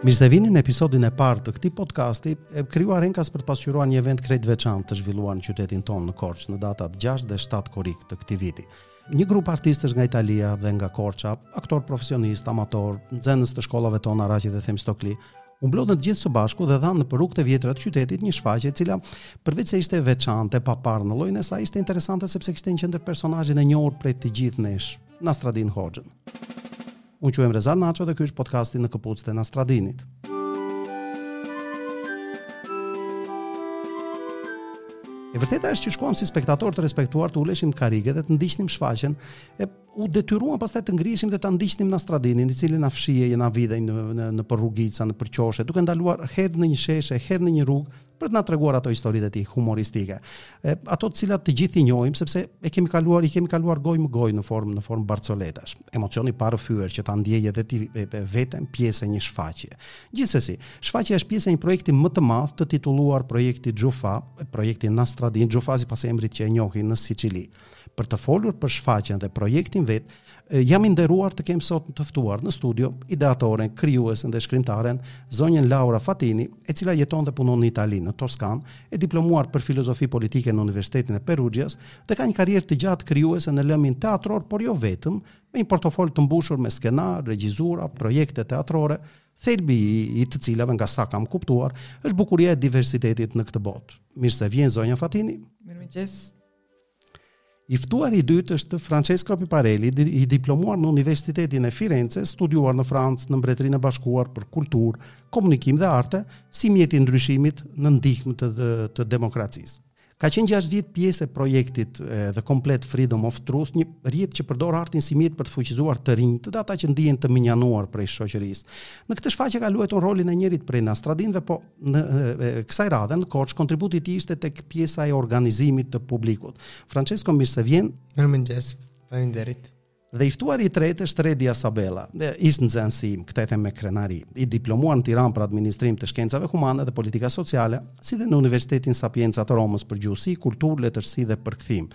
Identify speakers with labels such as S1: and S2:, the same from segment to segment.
S1: Mirë se vini në episodin e parë të këtij podcasti, e krijuar Renkas për të pasqyruar një event krejt veçantë të zhvilluar në qytetin tonë në Korçë në datat 6 dhe 7 korik të këtij viti. Një grup artistësh nga Italia dhe nga Korça, aktor profesionist, amator, nxënës të shkollave tona Raqi dhe Themistokli, u mblodën të gjithë së bashku dhe dhanë në rrugët e vjetra të qytetit një shfaqje e cila përveç se ishte e veçantë e paparë në llojin e saj ishte interesante sepse kishte në qendër personazhin e njohur prej të gjithë nesh, Nastradin Hoxhën. Unë quhem Rezar Nacho dhe ky është podcasti në këpucët e Nastradinit. E vërteta është që shkuam si spektator të respektuar të uleshim karige dhe të ndiqnim shfaqen, e u detyruam pastaj të ngriheshim dhe ta ndiqnim Nastradinin, i cili na fshije, na videj në në, në për rrugica, në për qoshe, duke ndaluar herë në një sheshe, herë në një rrugë për të na treguar ato historitë e tij humoristike. E, ato të cilat të gjithë i njohim sepse e kemi kaluar, i kemi kaluar gojë më gojë në formë në formë barcoletash. Emocioni pa rrëfyer që ta ndjeje edhe ti e, e, veten pjesë e një shfaqje. Gjithsesi, shfaqja është pjesë e një projekti më të madh të titulluar projekti Xhufa, projekti Nastradin Xhufa sipas emrit që e njohin në Sicili. Për të folur për shfaqjen dhe projektin vet, e, jam i nderuar të kem sot të ftuar në studio ideatoren, krijuesen dhe shkrimtaren zonjën Laura Fatini, e cila jeton dhe punon në Itali, në Toskanë, e diplomuar për filozofi politike në Universitetin e Perugias dhe ka një karrierë të gjatë krijuese në lëmin teatror, por jo vetëm, me një portofol të mbushur me skenar, regjizura, projekte teatrore, thelbi i, i të cilave nga sa kam kuptuar, është bukuria e diversitetit në këtë botë. Mirë se vjen zonja Fatini.
S2: Mirëmëngjes.
S1: I ftuari i dytë është Francesco Piparelli, di- i diplomuar në Universitetin e Firenze, studiuar në Francë, në Mbretërinë e Bashkuar për kulturë, komunikim dhe arte, si mjet i ndryshimit në ndihmë të, të, të demokracisë. Ka qenë 6 vjet pjesë e projektit e, The Complete Freedom of Truth, një rrjet që përdor artin si mjet për të fuqizuar të rinj, të ata që ndihen të minjanuar prej shoqërisë. Në këtë shfaqje ka luajtur rolin e njërit prej Nastradinëve, po në e, e, kësaj radhe në Korç kontributi i tij ishte tek pjesa e organizimit të publikut. Francesco mirë se vjen,
S3: Mirëmëngjes. Faleminderit.
S1: Dhe i ftuari i tretë është Redi Asabella, dhe ishtë nxënës im, këtë e them me krenari. I diplomuar në Tiranë për administrim të shkencave humane dhe politika sociale, si dhe në Universitetin Sapienca të Romës për gjuhësi, kulturë, letërsi dhe përkthim.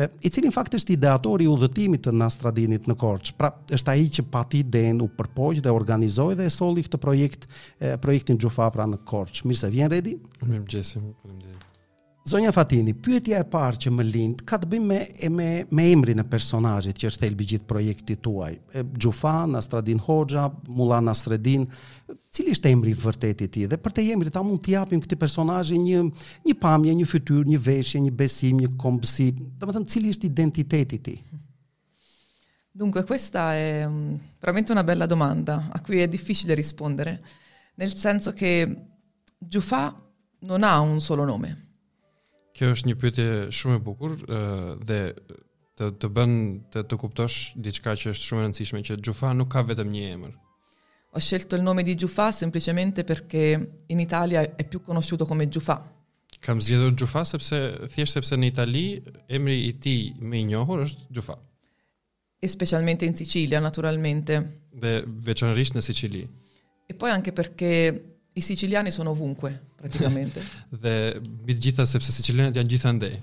S1: E, I cili në fakt është ideatori i udhëtimit të Nastradinit në Korçë. Pra, është ai që pati idenë, u përpoq dhe organizoi dhe e solli këtë projekt, e, projektin Xhufa pra në Korçë. Mirë se vjen Redi.
S3: Mirëmëngjes. Faleminderit.
S1: Zonja Fatini, pyetja e parë që më lind ka të bëjë me e me me emrin e personazhit që është thelbi i gjithë projektit tuaj. E, Xhufan, Astradin Hoxha, Mulla Nasreddin, cili është emri i vërtet i tij? Dhe për të emrin ta mund t'i japim këtij personazhi një një pamje, një fytyrë, një veshje, një besim, një kombësi. Domethënë, cili është identiteti i tij?
S2: Dunque, questa è mm, veramente una bella domanda a cui è difficile rispondere, nel senso che Giufà non ha un solo nome.
S3: Kjo është një pyetje shumë e bukur ë, dhe të të bën të, të kuptosh diçka që është shumë e rëndësishme që Xhufa nuk ka vetëm një emër.
S2: Ho scelto il nome di Giufà semplicemente perché in Italia è più conosciuto come Giufà.
S3: Kam zgjedhur Xhufa sepse thjesht sepse në Itali emri i tij më i njohur është Xhufa
S2: e specialmente in Sicilia naturalmente.
S3: dhe veçanërisht në Sicili.
S2: E poi anche perché i siciliani sono ovunque praticamente.
S3: Dhe mbi të gjitha sepse sicilianët janë gjithandej.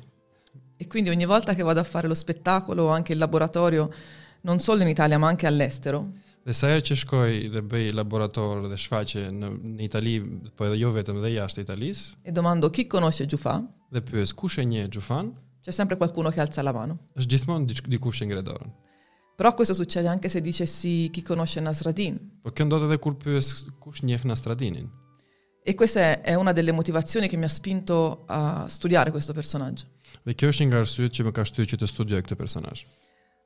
S2: e quindi ogni volta che vado a fare lo spettacolo o anche il laboratorio, non solo in Italia ma anche all'estero,
S3: Dhe sa herë që shkoj dhe bëj laborator dhe shfaqe në, në Itali, po edhe jo vetëm dhe jashtë Italisë,
S2: e domando chi conosce Giufà,
S3: dhe pyes kush e njeh Xhufan,
S2: c'è sempre qualcuno che alza la mano.
S3: është gjithmonë diç- dikush që ngre dorën.
S2: Però questo succede anche se dicessi chi conosce Nasradin.
S3: Po kjo ndodh edhe kur pyes kush njeh Nastradinin.
S2: E questa è- è una delle motivazioni che mi ha spinto a studiare questo personaggio.
S3: Dhe kjo është një nga arsyet që më ka shtyë që të studioj këtë personazh.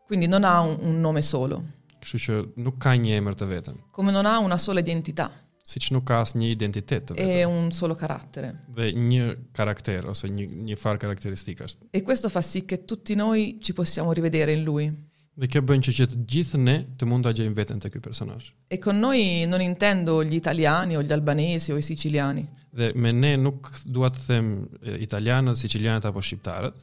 S2: Quindi non ha un, un nome solo,
S3: Kështu që nuk ka një emër të vetëm,
S2: come non ha una sola identità
S3: siç nuk ka asnjë identitet të
S2: e
S3: vetëm
S2: un solo carattere.
S3: dhe një karakter ose një një farë karakteristikash.
S2: E questo fa sì che tutti noi ci possiamo rivedere in lui.
S3: Dhe kjo bën që që të gjithë ne të mund ta gjejmë veten te ky personazh.
S2: E con noi non intendo gli italiani o gli albanesi o i siciliani,
S3: Dhe me ne nuk dua të them e, italianët, sicilianët apo shqiptarët,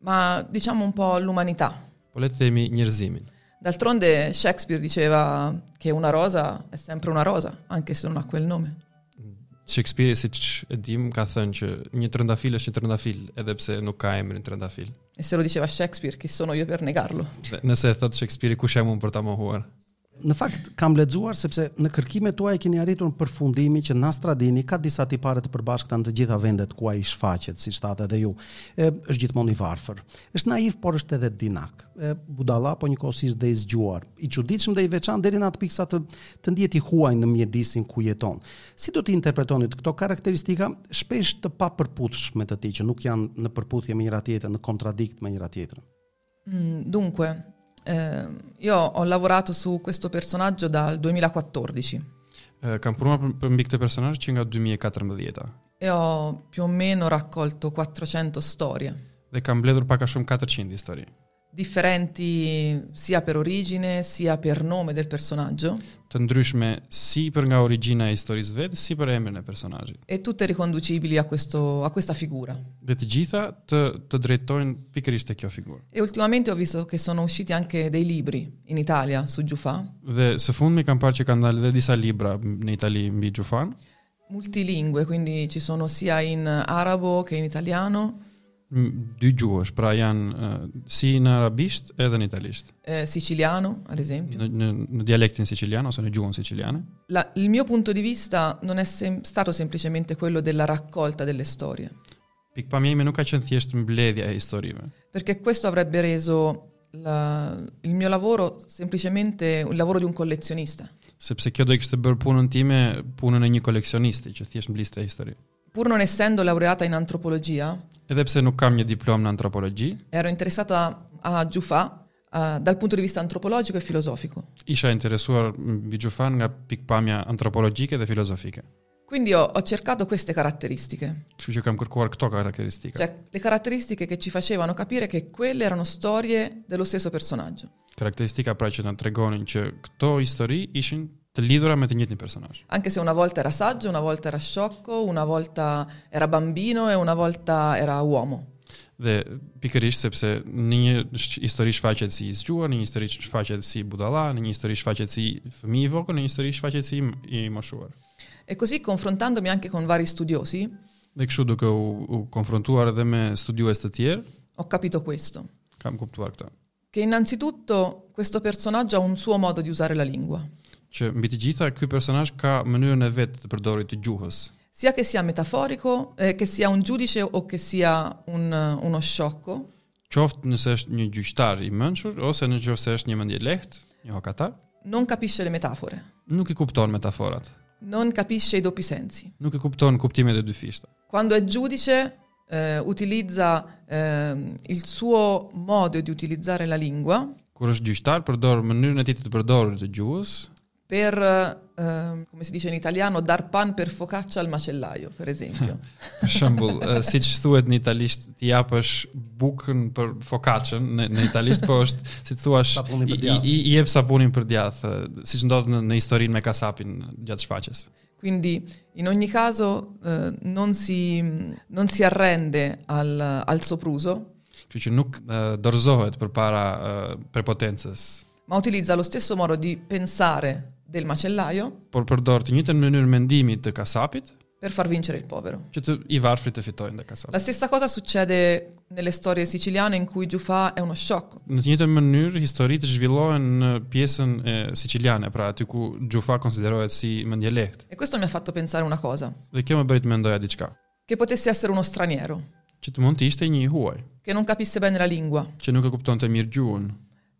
S2: ma diciamo un po' l'umanità.
S3: po le të themi njerëzimin.
S2: D'altronde Shakespeare diceva che una rosa è sempre una rosa, anche se non ha quel nome.
S3: Shakespeare siç e dim ka thënë që një trëndafil është një trëndafil edhe pse nuk ka emrin trëndafil.
S2: E se lo diceva Shakespeare, chi sono io per negarlo?
S3: Dhe nëse e thot Shakespeare kush jam unë për ta mohuar?
S1: Në fakt kam lexuar sepse në kërkimet tuaja keni arritur në përfundimin që Nastradini ka disa tipare të përbashkëta në të gjitha vendet ku ai shfaqet, si shtatë edhe ju. E, është gjithmonë i varfër. Është naiv por është edhe dinak. E, budalla po njëkohësisht dhe i zgjuar. I çuditshëm dhe i veçantë deri në atë pikë sa të të ndihet i huaj në mjedisin ku jeton. Si do të interpretonit këto karakteristika shpesh të papërputhshme të tij që nuk janë në përputhje me njëra tjetrën, në kontradikt me njëra tjetrën?
S2: Mm, dunque, eh, io ho lavorato su questo personaggio dal 2014
S3: Eh, Kam punuar për, për mbi këtë personazh që nga 2014-a
S2: e ho più o meno raccolto 400 storie,
S3: dhe kam mbledhur pak a shumë 400 histori,
S2: differenti sia per origine sia per nome del personaggio,
S3: të ndryshme si për nga origjina e historisë vet, si për emrin e personazhit.
S2: e tutte riconducibili a, questo- a questa figura.
S3: Dhe të gjitha të të drejtojnë pikërisht te kjo figurë.
S2: E ultimamente ho visto che sono usciti anche dei libri in Italia su Giufà,
S3: Dhe së fundmi kam parë që kanë dalë edhe disa libra në Itali mbi Gjufan,
S2: multilingue, quindi ci sono sia in arabo che in italiano,
S3: m- dy gjuhësh, pra janë eh, si në arabisht edhe në italisht,
S2: eh, siciliano ad esempio.
S3: në, në, në dialektin sicilian ose në gjuhën siciliane.
S2: La- il mio punto di vista non è sem- stato semplicemente quello della raccolta delle storie,
S3: Pikpamja ime nuk ka qenë thjesht mbledhja e historive,
S2: perché questo avrebbe reso la- il mio lavoro semplicemente il lavoro di un collezionista.
S3: sepse kjo do i kishte bërë punën time punën e një koleksionisti që thjesht mbliste histori.
S2: Pur non essendo laureata in antropologia,
S3: Edhe pse nuk kam një diplomë në antropologji,
S2: ero interessata a Giufà eh, dal punto di vista antropologico e filosofico.
S3: isha interesuar mbi Gjufan nga pikpamja antropologjike dhe filozofike.
S2: Quindi ho, ho cercato queste caratteristiche,
S3: Kështu që kam kërkuar këto karakteristika,
S2: cioè le caratteristiche che ci facevano capire che quelle erano storie dello stesso personaggio.
S3: karakteristika pra që na tregonin që këto histori ishin të lidhura me të njëjtin personazh.
S2: Anche se una volta era saggio, una volta era sciocco, una volta era bambino e una volta era uomo.
S3: Dhe pikërisht sepse në një sh- histori shfaqet si i zgjuar, në një histori shfaqet si budalla, në një histori shfaqet si fëmijë i vogël, në një histori shfaqet si i- i moshuar.
S2: E così confrontandomi anche con vari studiosi,
S3: Dhe kështu duke u, u konfrontuar edhe me studiues të tjerë,
S2: ho capito questo,
S3: kam kuptuar këtë.
S2: che innanzitutto questo personaggio ha un suo modo di usare la lingua,
S3: Që mbi të gjitha ky personazh ka mënyrën e vet të përdorit të gjuhës,
S2: sia che sia metaforico, eh, che sia un giudice o che sia un, eh, uno sciocco,
S3: qoftë nëse është një gjyqtar i mençur ose në qoftë se është një mendje lehtë, një hokatar,
S2: non capisce le metafore,
S3: nuk i kupton metaforat,
S2: non capisce i doppi sensi.
S3: nuk i kupton kuptimet e dyfishta.
S2: Quando è giudice eh, utilizza ehm, il suo modo di utilizzare la lingua
S3: Kur është gjyqtar, përdor mënyrën e tij të përdorit të gjuhës
S2: per, ehm, come si dice in italiano, dar pan per focaccia al macellaio, per esempio.
S3: Për shembull, eh, siç thuhet në italisht, ti japësh bukën për fokaçën në, në italisht, po është si thuash
S1: Sapunin për
S3: i,
S1: djath.
S3: i, i jep sapunin për djath, eh, siç ndodh në, në historinë me kasapin gjatë shfaqjes.
S2: Quindi in ogni caso eh, non, si, non si arrende al, al sopruso,
S3: Kështu që nuk eh, dorëzohet përpara eh, prepotencës,
S2: ma utilizza lo stesso modo di pensare del macellaio
S3: por përdor të njëjtën mënyrë mendimi të kasapit
S2: per far vincere il povero.
S3: që të i varfrit të fitojnë dhe kasapin.
S2: La stessa cosa succede nelle storie siciliane in cui Giufà è uno sciocco.
S3: Në të njëjtën mënyrë historitë zhvillohen në pjesën e siciliane, pra aty ku Gjufa konsiderohet si mendje lehtë.
S2: E questo mi ha fatto pensare una cosa,
S3: Dhe kjo më bëri të mendoja diçka,
S2: che potesse essere uno straniero,
S3: që të mund të ishte një i huaj,
S2: che non capisse bene la lingua,
S3: që nuk e kuptonte mirë gjuhën,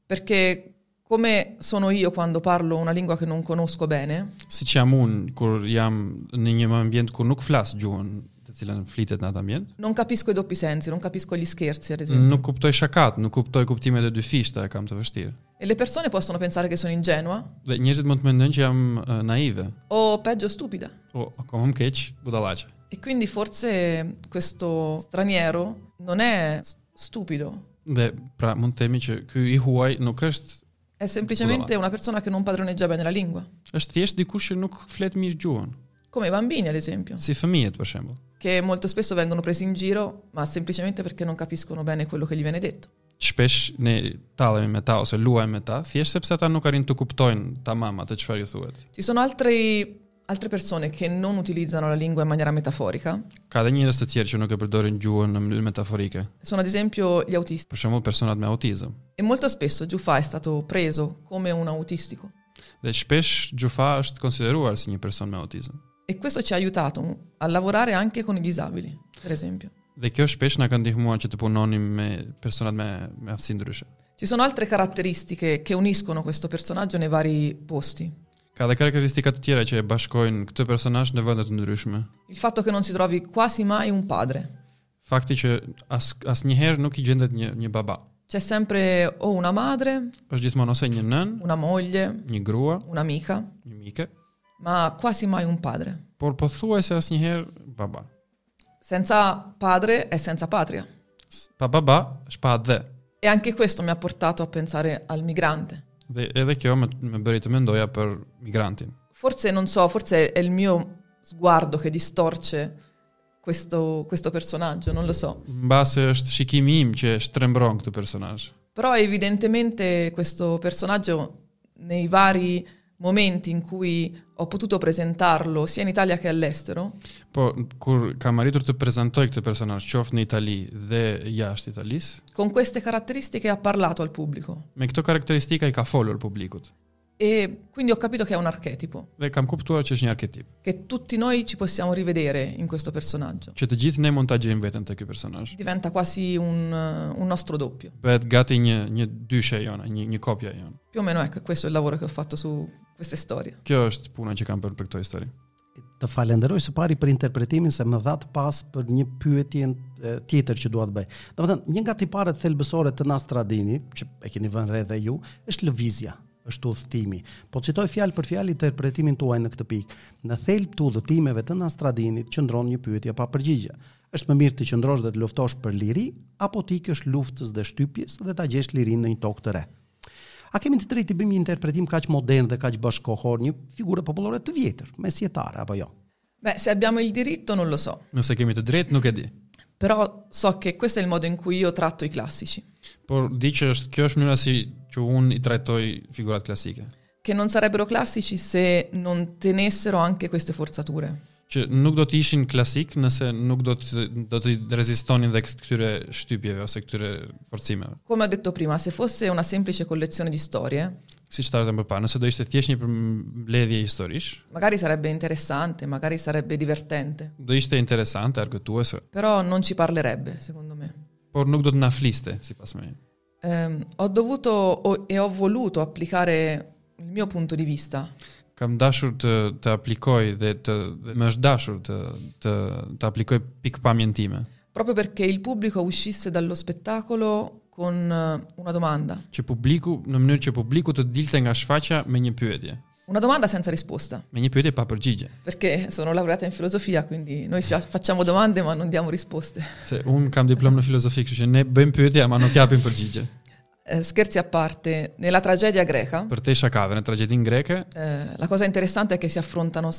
S2: perché come sono io quando parlo una lingua che non conosco bene,
S3: siç jam unë kur jam në një ambient ku nuk flas gjuhën, të cilën flitet në atë ambient.
S2: non capisco i doppi sensi, non capisco gli scherzi, ad esempio.
S3: Nuk kuptoj shakat, nuk kuptoj kuptimet e dyfishta, e kam të vështirë.
S2: E le persone possono pensare che sono ingenua
S3: Dhe njerëzit mund të mendojnë që jam eh, naive,
S2: o peggio stupida.
S3: o akoma më keq, budallaqe.
S2: E quindi forse questo straniero non è s- stupido,
S3: Dhe pra mund të themi që ky i huaj nuk është
S2: è semplicemente una persona che non padroneggia bene la lingua,
S3: është thjesht dikush që nuk flet mirë gjuhën.
S2: come i bambini ad esempio,
S3: Si fëmijët për shembull,
S2: che molto spesso vengono presi in giro, ma semplicemente perché non capiscono bene quello che gli viene detto.
S3: shpesh ne tallemi me ta ose luajmë me ta, thjesht sepse ata nuk arrin të kuptojnë tamam atë çfarë ju thuhet.
S2: Ci sono altri- altre persone che non utilizzano la lingua in maniera metaforica,
S3: Ka edhe njerëz të tjerë që nuk e përdorin gjuhën në mënyrë metaforike,
S2: sono ad esempio gli autisti.
S3: për shembull personat me autizëm.
S2: E molto spesso Giuffà è stato preso come un autistico.
S3: Dhe shpesh Gjufa është konsideruar si një person me autizëm.
S2: E questo ci ha aiutato a lavorare anche con i disabili, per esempio.
S3: Dhe kjo shpesh na ka ndihmuar që të punonim me personat me me aftësi ndryshe.
S2: Ci sono altre caratteristiche che uniscono questo personaggio nei vari posti.
S3: Ka dhe karakteristika të tjera që e bashkojnë këtë personazh në vende të ndryshme.
S2: Il fatto che non si trovi quasi mai un padre.
S3: Fakti që as asnjëherë nuk i gjendet një një baba.
S2: C'è sempre o una madre,
S3: Është gjithmonë ose një nën,
S2: una moglie,
S3: një grua,
S2: un'amica,
S3: një mike,
S2: ma quasi mai un padre.
S3: por pothuajse asnjëherë baba.
S2: Senza padre e senza patria.
S3: S- Pa baba është pa dhe.
S2: E anche questo mi ha portato a pensare al migrante.
S3: Dhe edhe kjo më, më bëri të mendoja për migrantin.
S2: Forse non so, forse è il mio sguardo che distorce questo, questo personaggio, non lo so.
S3: Mbase është shikimi im që shtrembron këtë personazh.
S2: Però evidentemente questo personaggio nei vari momenti in cui ho potuto presentarlo sia in Italia che all'estero,
S3: Po, kur kam arritur të prezantoj këtë personazh qoftë në Itali dhe jashtë Italisë,
S2: con queste caratteristiche ha parlato al pubblico
S3: me këto karakteristika i ka folur publikut.
S2: e quindi ho capito che è un archetipo,
S3: Dhe kam kuptuar që është një arketip,
S2: che tutti noi ci possiamo rivedere in questo personaggio.
S3: që të gjithë ne mund ta gjejmë veten te ky personazh.
S2: Diventa quasi un, eh, un nostro doppio.
S3: Bëhet gati një një dyshe jona, një një kopja jona.
S2: Più o meno ecco, questo è il lavoro che ho fatto su queste storie.
S3: Kjo është puna që kam bërë për këtë histori.
S1: Të falenderoj së pari për interpretimin se më dha të pas për një pyetje e, tjetër që dua të bëj. Domethënë, një nga tiparet thelbësore të Nastradini, që e keni vënë re dhe ju, është lëvizja është udhëtimi. Po citoj fjalë për fjalë interpretimin tuaj në këtë pikë. Në thelb të udhëtimeve të Nastradinit qëndron një pyetje pa përgjigje. Është më mirë të qëndrosh dhe të luftosh për liri apo të ikësh luftës dhe shtypjes dhe ta gjesh lirinë në një tokë të re? A kemi të drejtë të bëjmë një interpretim kaq modern dhe kaq bashkohor, një figurë popullore të vjetër, mesjetare apo jo?
S2: Beh, se abbiamo il diritto non lo so,
S3: Nëse kemi të drejtë, nuk e di.
S2: però so che questo è il modo in cui io tratto i classici,
S3: Por di që është kjo është mënyra si që unë i trajtoj figurat klasike.
S2: che non sarebbero classici se non tenessero anche queste forzature.
S3: Që nuk do të ishin klasik nëse nuk do të do të rezistonin dhe këtyre shtypjeve ose këtyre forcimeve.
S2: Come ho detto prima, se fosse una semplice collezione di storie,
S3: Siç tartëm më parë, nëse do ishte thjesht një mbledhje historish,
S2: magari sarebbe interessante, magari sarebbe divertente,
S3: do ishte interesante, argëtuese,
S2: però non ci parlerebbe, secondo me.
S3: por nuk do të na fliste sipas meje.
S2: Ehm, ho dovuto o- e ho voluto applicare il mio punto di vista
S3: Kam dashur të të aplikoj dhe të dhe më është dashur të të të aplikoj pikpamjen time,
S2: proprio perché il pubblico uscisse dallo spettacolo con eh, una domanda,
S3: që publiku në mënyrë që publiku të dilte nga shfaqja me një pyetje,
S2: una domanda senza risposta,
S3: me një pyetje pa përgjigje.
S2: perché sono laureata in filosofia, quindi noi fa- facciamo domande ma non diamo risposte.
S3: Se un kam diplomë në filozofi, kështu që ne bëjmë pyetje ama nuk japim përgjigje.
S2: Eh, scherzi a parte, nella tragedia greca
S3: Për te shakave në tragjedinë greke,
S2: eh, la cosa interessante è che si affrontano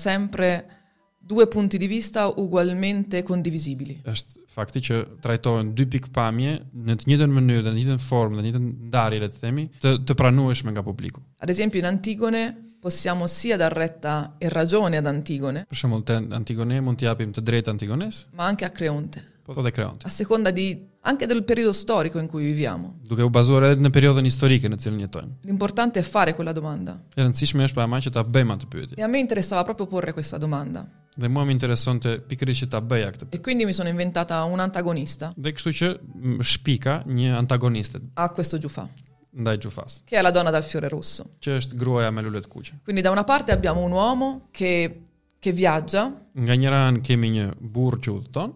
S2: sempre due punti di vista ugualmente condivisibili.
S3: është fakti që trajtohen dy pikpamje në të njëjtën mënyrë dhe në të njëjtën formë dhe në të njëjtën ndarje le të themi, të të pranueshme nga publiku.
S2: Ad esempio in Antigone possiamo sia dar retta e ragione ad Antigone,
S3: Për shembull, te Antigone mund të japim të drejtë Antigones,
S2: ma anche a Creonte,
S3: po edhe Kreonti.
S2: a seconda di- anche del periodo storico in cui viviamo.
S3: Duke u bazuar edhe në periudhën historike në cilën jetojmë.
S2: L'importante è fare quella domanda.
S3: E rëndësishme është para që ta bëjmë atë pyetje.
S2: E a me interessava proprio porre questa domanda.
S3: Dhe mua më interesonte pikërisht që ta bëja këtë.
S2: E quindi mi sono inventata un antagonista
S3: Dhe kështu që m, shpika një antagoniste
S2: a questo Giufà,
S3: ndaj Gjufas,
S2: che è la donna dal fiore rosso.
S3: që është gruaja me lulet kuqe.
S2: Quindi da una parte abbiamo un uomo che, che viaggia
S3: Nga njëra anë kemi një burr që udhëton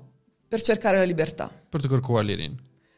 S2: per cercare la libertà.
S3: për të kërkuar lirinë.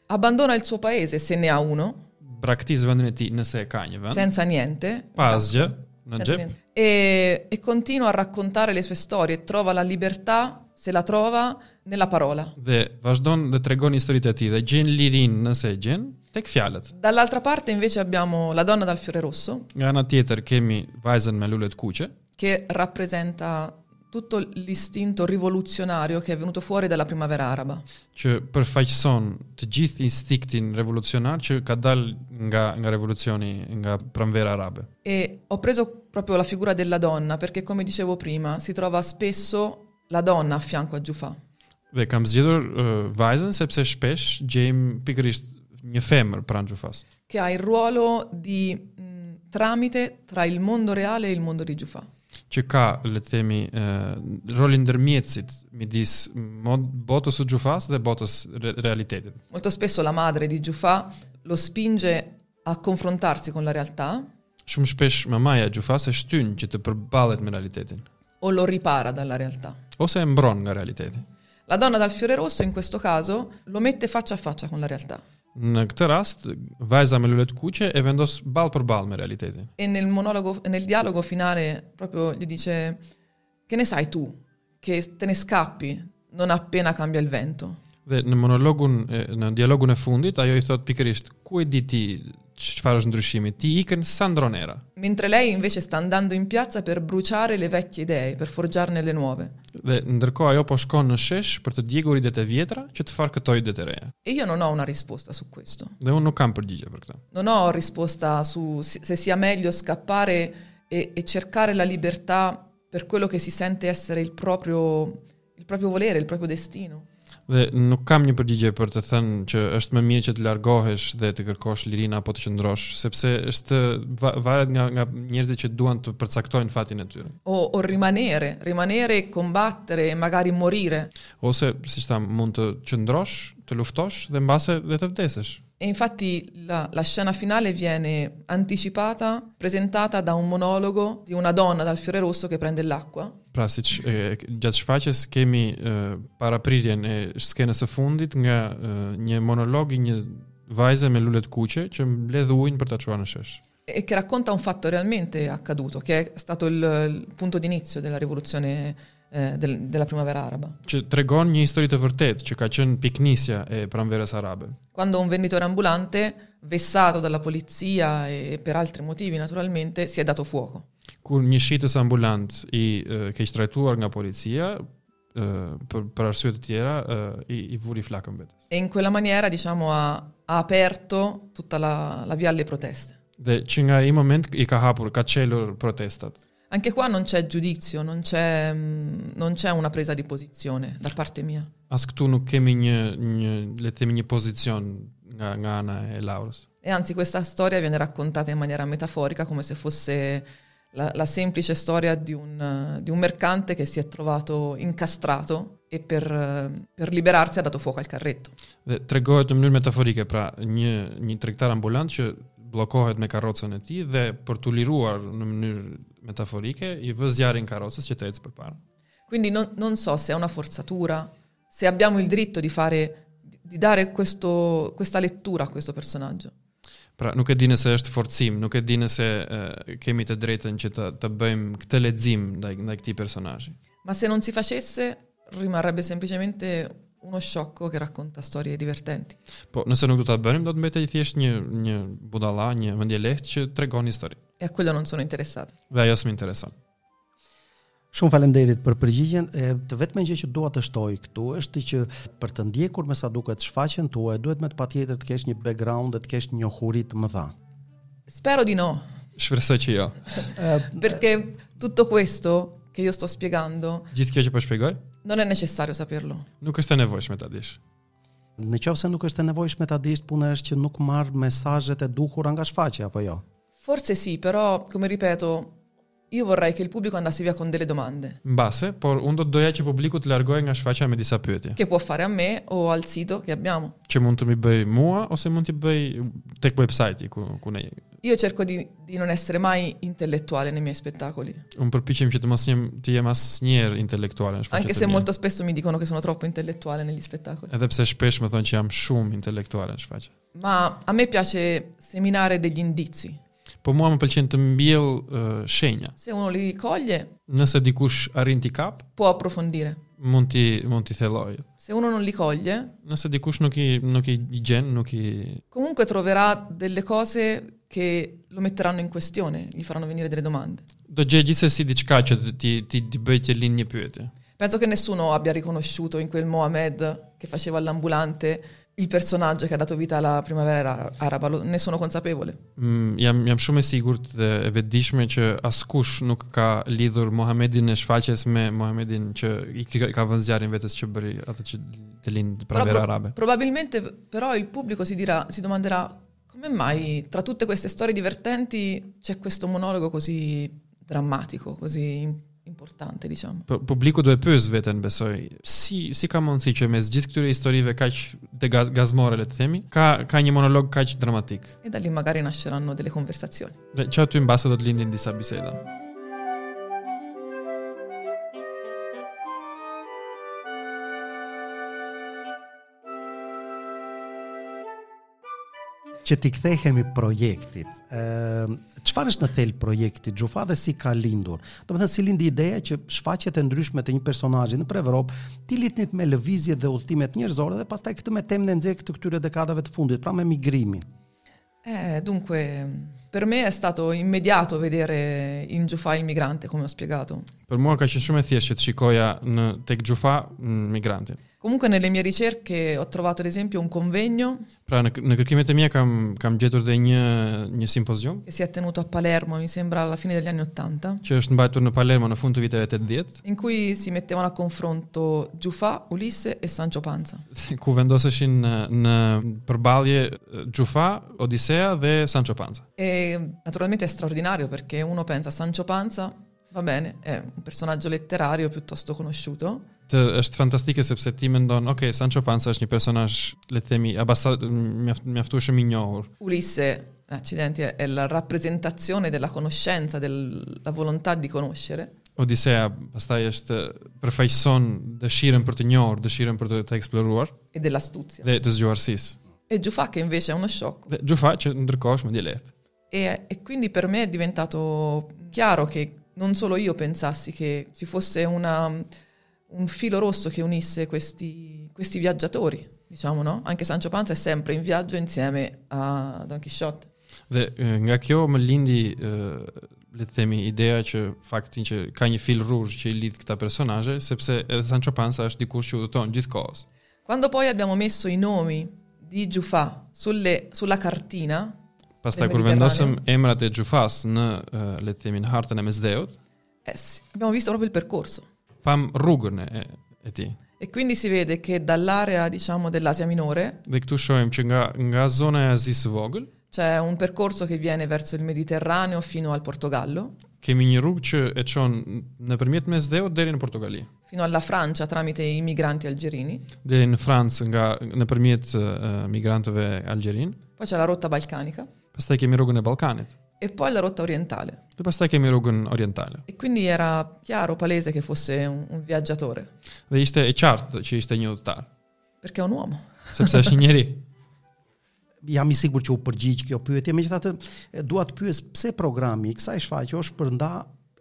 S2: Abbandona il suo paese, se ne ha uno,
S3: Braktis vendin e tij nëse e ka një vend,
S2: senza niente.
S3: pa asgjë në
S2: senza
S3: xhep,
S2: niente. E, e continua a raccontare le sue storie, trova la libertà, se la trova, nella parola.
S3: dhe vazhdon dhe tregon historitë e tij dhe gjen lirinë nëse e gjen tek fjalët.
S2: Dall'altra parte invece abbiamo la donna dal fiore rosso,
S3: Nga ana tjetër kemi vajzën me lulet kuqe,
S2: che rappresenta tutto l'istinto rivoluzionario che è venuto fuori dalla primavera araba.
S3: që përfaqëson të gjithë instiktin revolucionar që ka dalë nga nga revolucioni nga pranvera arabe.
S2: E ho preso proprio la figura della donna perché, come dicevo prima, si trova spesso la donna a fianco a Giufà.
S3: Dhe kam zgjedhur uh, vajzën sepse shpesh gjejmë pikërisht një femër pranë Gjufas,
S2: che ha il ruolo di mh, tramite tra il mondo reale e il mondo di Giufa.
S3: që ka, le të themi, ë, rolin ndërmjetësit midis mod, botës së xhufas dhe botës re, realitetit.
S2: Molto spesso la madre di Giufa lo spinge a confrontarsi con la realtà
S3: Shumë shpesh mamaja e xhufas e shtyn që të përballet me realitetin
S2: o lo ripara dalla realtà.
S3: ose e mbron nga realiteti.
S2: La donna dal fiore rosso in questo caso lo mette faccia a faccia con la realtà
S3: Në këtë rast, vajza me lulet kuqe e vendos ball për ball me realitetin.
S2: e nel monologo e nel dialogo finale proprio gli dice che ne sai tu che te ne scappi non appena cambia il vento.
S3: Dhe në monologun e, në dialogun e fundit ajo i thot pikërisht ku e di ti çfarë është ndryshimi? Ti ikën sa ndron era.
S2: Mentre lei invece sta andando in piazza per bruciare le vecchie idee, per forgiarne le nuove.
S3: Dhe ndërkohë ajo po shkon në shesh për të djegur idetë e vjetra që të farkëtoj idetë e reja.
S2: E io non ho una risposta su questo.
S3: Dhe unë nuk kam përgjigje për këtë.
S2: Non ho risposta su si- se sia meglio scappare e, e cercare la libertà per quello che si sente essere il proprio, il proprio volere, il proprio destino.
S3: Dhe nuk kam një përgjigje për të thënë që është më mirë që të largohesh dhe të kërkosh lirinë apo të qëndrosh, sepse është va- varet nga nga njerëzit që duan të përcaktojnë fatin e tyre.
S2: O, o rimanere, rimanere e combattere e magari morire.
S3: Ose, siç tham, mund të qëndrosh, të luftosh dhe mbase dhe të vdesësh.
S2: E infatti la, la scena finale viene anticipata, presentata da un monologo di una donna dal fiore rosso che prende l'acqua
S3: Pra siç e, gjatë shfaqjes kemi e, paraprirjen e skenës së fundit nga e, një monolog i një vajze me lule të kuqe që mbledh ujin për ta çuar në shesh.
S2: e che racconta un fatto realmente accaduto, che è stato il, il punto d'inizio della rivoluzione eh, del- della primavera araba.
S3: Që tregon një histori të vërtetë që ka qenë piknisja e pranverës arabe.
S2: Quando un venditore ambulante, vessato dalla polizia e per altri motivi naturalmente, si è dato fuoco.
S3: kur një shitës ambulant i e, keq trajtuar nga policia e, për, për arsye të tjera e, i, i vuri flakën vetes.
S2: E in quella maniera, diciamo, ha, ha aperto tutta la, la via alle proteste.
S3: Dhe që nga ai moment i ka hapur, ka çelur protestat.
S2: Anche qua non c'è giudizio, non c'è, mm, non c'è una presa di posizione da parte mia.
S3: As këtu nuk kemi një një le të themi një pozicion nga nga ana e Laurës.
S2: E anzi questa storia viene raccontata in maniera metaforica come se fosse la, la semplice storia di un, eh, di un mercante che si è trovato incastrato e per, eh, per liberarsi ha dato fuoco al carretto.
S3: Dhe tregohet në mënyrë metaforike, pra një një tregtar ambulant që bllokohet me karrocën e tij dhe për t'u liruar në mënyrë metaforike i vë zjarrin karrocës që të ecë përpara.
S2: Quindi non, non so se è una forzatura, se abbiamo il diritto di, fare, di dare questo- questa lettura a questo personaggio.
S3: Pra nuk e di nëse është forcim, nuk e di nëse e, kemi të drejtën që të të bëjmë këtë lexim ndaj ndaj këtij personazhi.
S2: Ma se non si facesse rimarrebbe semplicemente uno sciocco che racconta storie divertenti.
S3: Po nëse nuk do ta bënim, do të mbetej thjesht një një budalla, një mendje lehtë që tregon histori.
S2: E a quello non sono interessata.
S3: Dhe ajo s'më intereson.
S1: Shumë falemderit për përgjigjen. E, të vetmen gjë që dua të shtoj këtu është që për të ndjekur me sa duket shfaqjen tuaj, duhet me të patjetër të kesh një background dhe të kesh njohuri të mëdha.
S2: Spero di no,
S3: Shpresoj që jo.
S2: perché tutto questo che io sto spiegando
S3: Gjithë kjo që po shpjegoj,
S2: non è necessario saperlo.
S3: nuk është e nevojshme ta dish.
S1: Në qofë se nuk është e nevojshme ta dish, puna është që nuk marr mesazhet e duhura nga shfaqja apo jo.
S2: Forse sì, però, come ripeto, io vorrei che il pubblico andasse via con delle domande
S3: Mbase, por unë do të doja që publiku të largohej nga shfaqja me disa pyetje,
S2: che può fare a me o al sito che abbiamo.
S3: që mund të më bëj mua ose mund t'i bëj tek website-i ku ku ne jemi.
S2: Io cerco di, di non essere mai intellettuale nei miei spettacoli,
S3: Unë përpiqem që të mos jem të jem asnjëherë intelektuale në shfaqje.
S2: anche
S3: të
S2: se
S3: mia.
S2: molto spesso mi dicono che sono troppo intellettuale negli spettacoli.
S3: Edhe pse shpesh më thonë që jam shumë intelektuale në shfaqje.
S2: Ma a me piace seminare degli indizi.
S3: Po mua më pëlqen të mbjell uh, shenja.
S2: Se uno li coglie,
S3: Nëse dikush arrin t'i kap,
S2: può approfondire.
S3: mund t'i mund t'i thelloj.
S2: Se uno non li coglie,
S3: Nëse dikush nuk i nuk i gjen, nuk i
S2: comunque troverà delle cose che lo metteranno in questione, gli faranno venire delle domande.
S3: do gjej gjithsesi diçka që të- ti ti ti bëj të lind një pyetje.
S2: Penso che nessuno abbia riconosciuto in quel Mohamed che faceva l'ambulante il personaggio che ha dato vita alla primavera ara- araba, Lo- ne sono consapevole.
S3: Mm, jam jam shumë e sigurt dhe e vetëdijshme që askush nuk ka lidhur Muhamedin e shfaqjes me Muhamedin që i ka i ka vënë zjarrin vetes që bëri atë që të lind
S2: Però
S3: pranverë
S2: pro-
S3: arabe.
S2: Probabilmente però il pubblico si, dirà, si domanderà Come mai tra tutte queste storie divertenti c'è questo monologo così drammatico, così im- importante, diciamo?
S3: Po- Publiku duhet pyes veten, besoj, si si ka mundësi që mes gjithë këtyre historive kaq të gaz, gazmore le të themi, ka ka një monolog kaq dramatik.
S2: E da lì magari nasceranno delle conversazioni.
S3: Dhe që aty mbase do të lindin disa biseda.
S1: që t'i kthehemi projektit. Ëm çfarë është në thel projekti Xhufa dhe si ka lindur? Domethënë si lindi ideja që shfaqjet e ndryshme të një personazhi në Evropë ti litnit me lëvizje dhe udhëtimet njerëzore dhe pastaj këtë me temën e nxehtë të këtyre dekadave të fundit, pra me migrimin.
S2: Eh, dunque, per me è stato immediato vedere in Giufa il migrante, come ho spiegato.
S3: Për mua ka qenë shumë e thjeshtë të shikoja në tek Xhufa mm, migrantin.
S2: Comunque nelle mie ricerche ho trovato ad esempio un convegno
S3: Pra në, në kërkimet e mia kam kam gjetur dhe një një simpozium
S2: che si è tenuto a Palermo, mi sembra alla fine degli anni Ottanta,
S3: që është mbajtur në Palermo në fund të viteve 80,
S2: in cui si mettevano a confronto Giufa, Ulisse e Sancho Panza.
S3: ku vendoseshin në, në përballje eh, Xhufa, Odisea dhe Sancho Panza.
S2: E naturalmente è straordinario perché uno pensa a Sancho Panza, va bene, è un personaggio letterario piuttosto conosciuto,
S3: Të është fantastike sepse ti mendon, ok, Sancho Panza është një personazh, le të themi, abasa mjaft, mjaftueshëm i njohur.
S2: Ulisse, accidenti, è la rappresentazione della conoscenza, della volontà di conoscere.
S3: Odisea pastaj është përfaqëson dëshirën për të njohur, dëshirën për të, të eksploruar
S2: e dell'astuzia.
S3: dhe të zgjuarësisë.
S2: E Giufa che invece è uno sciocco.
S3: Dhe Xhufa që ndërkohë është me dialekt.
S2: E, e quindi per me è diventato chiaro che non solo io pensassi che ci fosse una- un filo rosso che unisse questi, questi viaggiatori, diciamo, no? Anche Sancho Panza è sempre in viaggio insieme a Don Quixote.
S3: Dhe e, nga kjo më lindi e, le të themi ideja që faktin që ka një fil rrugë që i lidh këta personazhe, sepse edhe Sancho Panza është dikur që udhëton gjithkohës.
S2: Quando poi abbiamo messo i nomi di Giufa sulle- sulla cartina,
S3: Pastaj
S2: Dhe
S3: kur vendosëm
S2: Mediterraneu.
S3: emrat e Xhufas në e, le të themi në hartën e mesdheut,
S2: eh sì, abbiamo visto proprio il percorso.
S3: pam rrugën e, e tij.
S2: E quindi si vede che dall'area, diciamo, dell'Asia Minore
S3: Dhe këtu shohim që nga nga zona e Azisë së vogël
S2: c'è un percorso che viene verso il Mediterraneo fino al Portogallo,
S3: kemi një rrugë që e çon nëpërmjet mesdheut deri në Portogali,
S2: fino alla Francia tramite i migranti algerini.
S3: deri në Francë nga nëpërmjet e, migrantëve algjerin.
S2: Poi c'è la rotta balcanica
S3: Pastaj kemi rrugën e Ballkanit.
S2: e poi la rotta orientale.
S3: Dhe pastaj kemi rrugën orientale.
S2: E quindi era chiaro, palese che fosse un, un viaggiatore,
S3: Dhe ishte e qartë që ishte një udhëtar,
S2: perché è un uomo.
S3: sepse është një njeri.
S1: jam i sigurt që u përgjigj kjo pyetje, megjithatë e, dua të pyes pse programi i kësaj shfaqje është përnda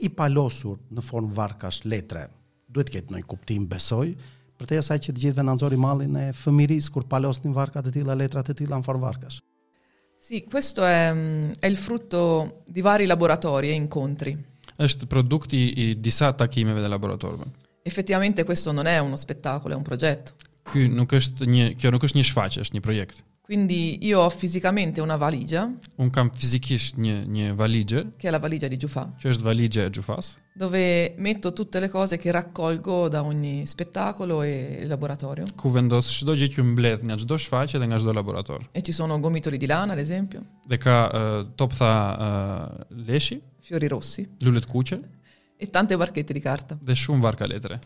S1: i palosur në formë varkash letre. Duhet të ketë ndonjë kuptim, besoj, për të asaj që të gjithëve na nxori mallin e fëmirisë kur palosnin varka të tilla, letra të tilla në formë varkash.
S2: Sì, questo è, mm, è il frutto di vari laboratori e incontri.
S3: Është produkti i disa takimeve dhe laboratorëve.
S2: Effettivamente questo non è uno spettacolo, è un progetto.
S3: Ky nuk është një kjo nuk është një shfaqje, është një projekt.
S2: Quindi io ho fisicamente una valigia,
S3: Un kam fizikisht një një valixhe,
S2: che è la valigia di Giufa,
S3: që është valixhe e Xhufas,
S2: dove metto tutte le cose che raccolgo da ogni spettacolo e laboratorio.
S3: ku vendos çdo gjë që mbledh nga çdo shfaqje dhe nga çdo laborator.
S2: E ci sono gomitoli di lana, ad esempio,
S3: Dhe ka uh, toptha uh, leshi,
S2: fiori rossi
S3: lulet kuqe
S2: e tante barchette di carta.
S3: dhe shumë varka letre.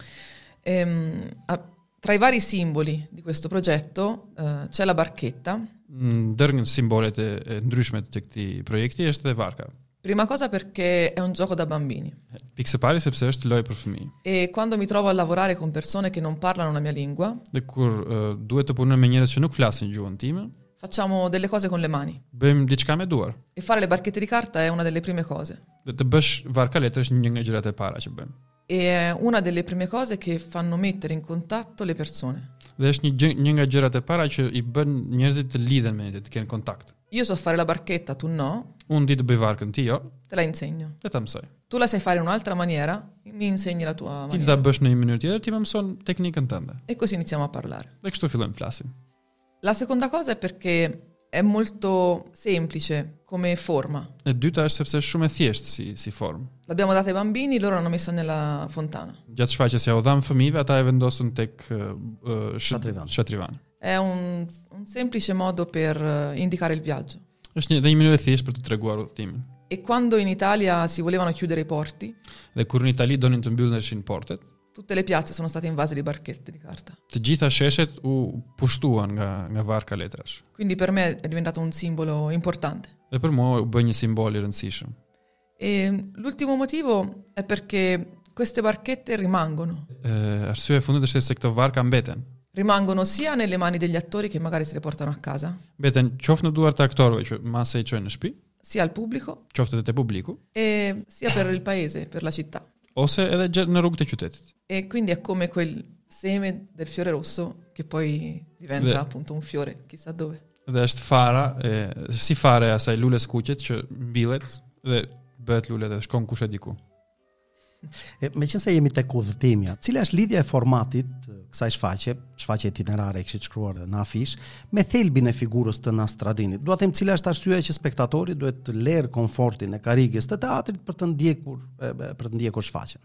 S2: Ehm, a- tra i vari simboli di questo progetto eh, c'è la barchetta.
S3: Ndër nga simbolet e, e ndryshme të këtij projekti është dhe varka.
S2: Prima cosa perché è un gioco da bambini
S3: Pikse pari sepse është lojë për fëmijë.
S2: e quando mi trovo a lavorare con persone che non parlano la mia lingua,
S3: Dhe kur uh, duhet të punoj me njerëz që nuk flasin gjuhën time,
S2: facciamo delle cose con le mani
S3: bëjmë diçka me duar.
S2: e fare le barchette di carta è una delle prime cose.
S3: Dhe të bësh varka letër është një nga gjërat e para që bëjmë.
S2: E è una delle prime cose che fanno mettere in contatto le persone.
S3: Dhe është një gjë, një nga gjërat e para që i bën njerëzit të lidhen me një, të kenë kontakt.
S2: Io so fare la barchetta, tu no,
S3: Unë di të bëj varkën ti jo,
S2: te la insegno.
S3: le ta mësoj.
S2: Tu la sai fare in un'altra maniera, mi insegni la tua
S3: Ti
S2: maniera.
S3: ta bësh në një mënyrë tjetër, ti më mëson teknikën tënde.
S2: E così iniziamo a parlare.
S3: Dhe kështu fillojmë të flasim.
S2: La seconda cosa è perché è molto semplice come forma.
S3: E dyta është sepse është shumë e thjeshtë si si formë.
S2: L'abbiamo data ai bambini, loro l'hanno messa nella fontana.
S3: Gjatë shfaqjes ja u dham fëmijëve, ata e vendosën tek uh, uh,
S1: Shatrivan.
S3: Shatrivan.
S2: È un, un semplice modo per eh, indicare il viaggio.
S3: Është një, dhe një mënyrë e thjeshtë për të treguar udhëtimin.
S2: E quando in Italia si volevano chiudere i porti,
S3: Dhe kur në Itali donin të mbylleshin portet,
S2: tutte le piazze sono state invase di barchette di carta.
S3: të gjitha sheshet u pushtuan nga nga varka letrash.
S2: Quindi per me è diventato un simbolo importante.
S3: Dhe për mua u bë një simbol i rëndësishëm.
S2: E l'ultimo motivo è perché queste barchette rimangono.
S3: Ë arsyeja e fundit është se këto varka mbeten.
S2: Rimangono sia nelle mani degli attori che magari se le portano a casa,
S3: Mbeten qoftë në duart e aktorëve që mase i çojnë në shtëpi,
S2: sia al pubblico
S3: qoftë edhe te publiku,
S2: e sia per il paese, per la città.
S3: ose edhe gje- në rrugët e qytetit.
S2: E quindi è come quel seme del fiore rosso che poi diventa
S3: Beh.
S2: appunto un fiore, chissà dove.
S3: Dhe është fara, e, si fare e asaj lules kuqet që mbilet dhe bëhet lule dhe shkon kush e diku.
S1: E, me qënë se jemi tek udhëtimja, cila është lidhja e formatit të kësaj shfaqe, shfaqe itinerare e kështë të shkruar dhe në afish, me thelbin e figurës të Nastradinit. Dua them cila është arsyeja që spektatori duhet të lerë komfortin e karigjes të teatrit për të ndjekur e, e, për të ndjekur shfaqen.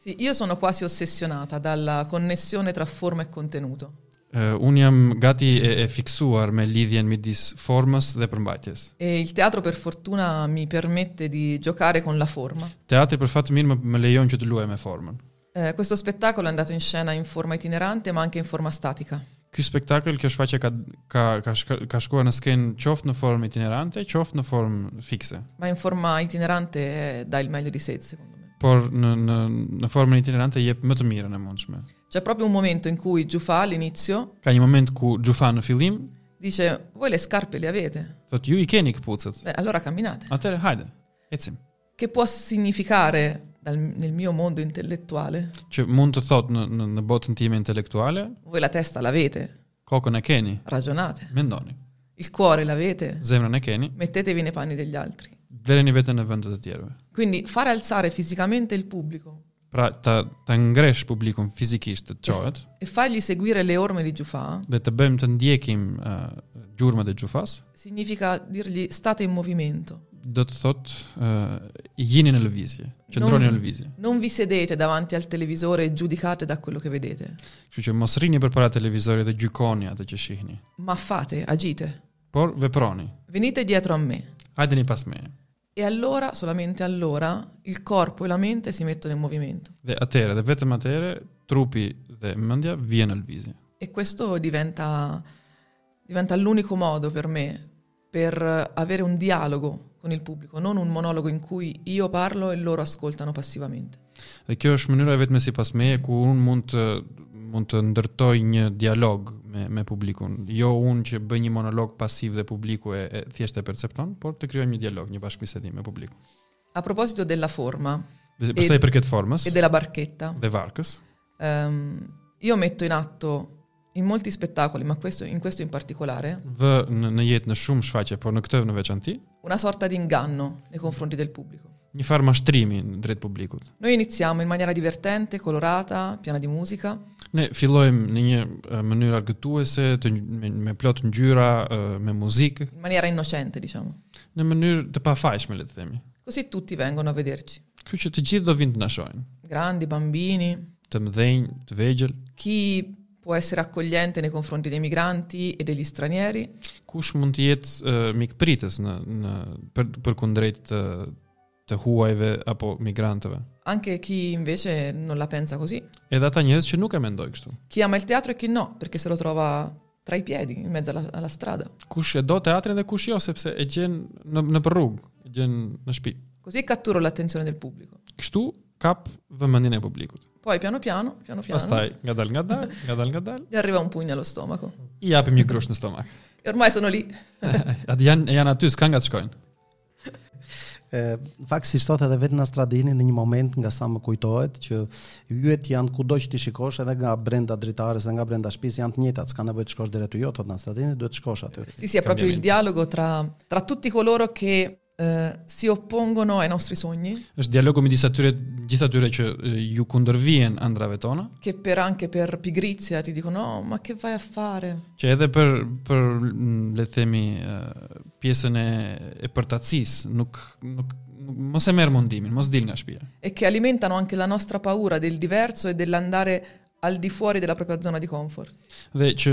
S2: Sì, io sono quasi ossessionata dalla connessione tra forma e contenuto.
S3: Uh, unë jam gati e, e fiksuar me lidhjen midis formës dhe përmbajtjes.
S2: E il teatro per fortuna mi permette di giocare con la forma.
S3: Teatri për fat të mirë më, më lejon që të luaj me formën.
S2: Eh, questo spettacolo è andato in scena in forma itinerante ma anche in forma statica.
S3: Ky spektakël, kjo shfaqje ka ka ka, shk ka shkuar në skenë qoftë në formë itinerante, qoftë në formë fikse.
S2: Ma in forma itinerante eh, dà il meglio di sé, secondo me.
S3: Por në në në formën itinerante jep më të mirën e mundshme.
S2: C'è proprio un momento in cui Giufa all'inizio
S3: Ka një moment ku Xhufa në fillim
S2: dice voi le scarpe le avete?
S3: thotë ju i keni këpucët.
S2: Beh, allora camminate.
S3: Atëre, hajde. Ecim.
S2: Che può significare dal- nel mio mondo intellettuale?
S3: Që mund të thotë në në, në botën time intelektuale,
S2: Voi la testa l'avete,
S3: kokën e keni,
S2: ragionate.
S3: mendoni.
S2: Il cuore l'avete,
S3: Zemrën e keni,
S2: mettetevi nei panni degli altri.
S3: vëreni veten në vend të të tjerëve.
S2: Quindi fare alzare fisicamente il pubblico
S3: Pra ta ta ngresh publikun fizikisht të çohet
S2: e fargli seguire le orme di Giufa
S3: dhe të bëjmë të ndjekim uh, gjurmët e xhufas,
S2: significa dirgli state in movimento.
S3: do të thotë uh, jini në lëvizje,
S2: Non-
S3: qëndroni në lëvizje.
S2: Non vi sedete davanti al televisore e giudicate da quello che vedete,
S3: Kështu që mos rrini përpara televizorit dhe gjykoni atë që shihni,
S2: ma fate, agite.
S3: por veproni.
S2: Venite dietro a me.
S3: Hajdeni pas meje.
S2: E allora, solamente allora, il corpo e la mente si mettono in movimento.
S3: Dhe atëherë, dhe vetëm atëherë, trupi dhe mendja vjen në lëvizje.
S2: E questo diventa, diventa l'unico modo per me per eh, avere un dialogo con il pubblico, non un monologo in cui io parlo e loro ascoltano passivamente.
S3: Dhe kjo është mënyra e vetme sipas meje ku unë mund të mund të ndërtoj një dialog me me publikun. Jo unë që bëj një monolog pasiv dhe publiku e, e thjesht e percepton, por të krijojmë një dialog, një bashkëbisedim me publikun.
S2: A proposito della forma
S3: Dhe përsa i përket formës
S2: e della barchetta,
S3: dhe varkës,
S2: ehm, io metto in atto in molti spettacoli, ma questo- in questo in particolare,
S3: vë në, në jetë në shumë shfaqje, por në këtë në veçanti,
S2: una sorta di inganno nei confronti del pubblico.
S3: një farë mashtrimi në drejt publikut.
S2: Noi iniziamo in maniera divertente, colorata, piena di musica,
S3: Ne fillojmë në një e, mënyrë argëtuese, të nj- me, me plot ngjyra, e, me muzikë,
S2: in maniera innocente, diciamo.
S3: në mënyrë të pafajshme le të themi.
S2: Così tutti vengono a vederci.
S3: Kjo që të gjithë do vinë të na shohin,
S2: Grandi, bambini,
S3: të mëdhenj, të vegjël,
S2: chi può essere accogliente nei confronti dei migranti e degli stranieri,
S3: kush mund të jetë e, mikpritës në në për përkundrejt të të huajve apo migrantëve.
S2: anche chi invece non la pensa così,
S3: Edhe ata njerëz që nuk e mendoj kështu.
S2: chi ama il teatro e chi no, perché se lo trova tra i piedi, in mezzo alla, alla strada.
S3: Kush e do teatrin dhe kush jo, sepse e gjen në në për rrugë, e gjen në shtëpi.
S2: Così catturo l'attenzione del pubblico.
S3: Kështu kap vëmendjen e publikut.
S2: Poi piano piano, piano piano,
S3: Pastaj ngadal ngadal, ngadal ngadal,
S2: gli arriva un pugno allo stomaco.
S3: i japim një grush në stomak.
S2: E ormai sono lì.
S3: Atë janë janë aty, s'kan nga të shkojnë.
S1: E, Në fakt si shtot edhe vetë Nastradini në një moment nga sa më kujtohet që yjet janë kudo që ti shikosh edhe nga brenda dritares dhe nga brenda shtëpisë janë të njëjtat, s'ka nevojë të shkosh deri aty jo, thot Nastradini, duhet të shkosh aty.
S2: Sì, sì, è proprio il dialogo tra, tra tutti coloro che eh, si oppongono ai nostri sogni,
S3: Është dialogu midis atyre gjithë atyre që e, ju kundërvijen ëndrave tona,
S2: che per, anche per pigrizia ti dicono no, ma che vai a fare?
S3: që edhe për për mm, le të themi e, pjesën e e përtacisë, nuk nuk nuk- mos e merr mundimin, mos dil nga shtëpia.
S2: e che alimentano anche la nostra paura del diverso e dell'andare al di fuori della propria zona di comfort.
S3: Dhe që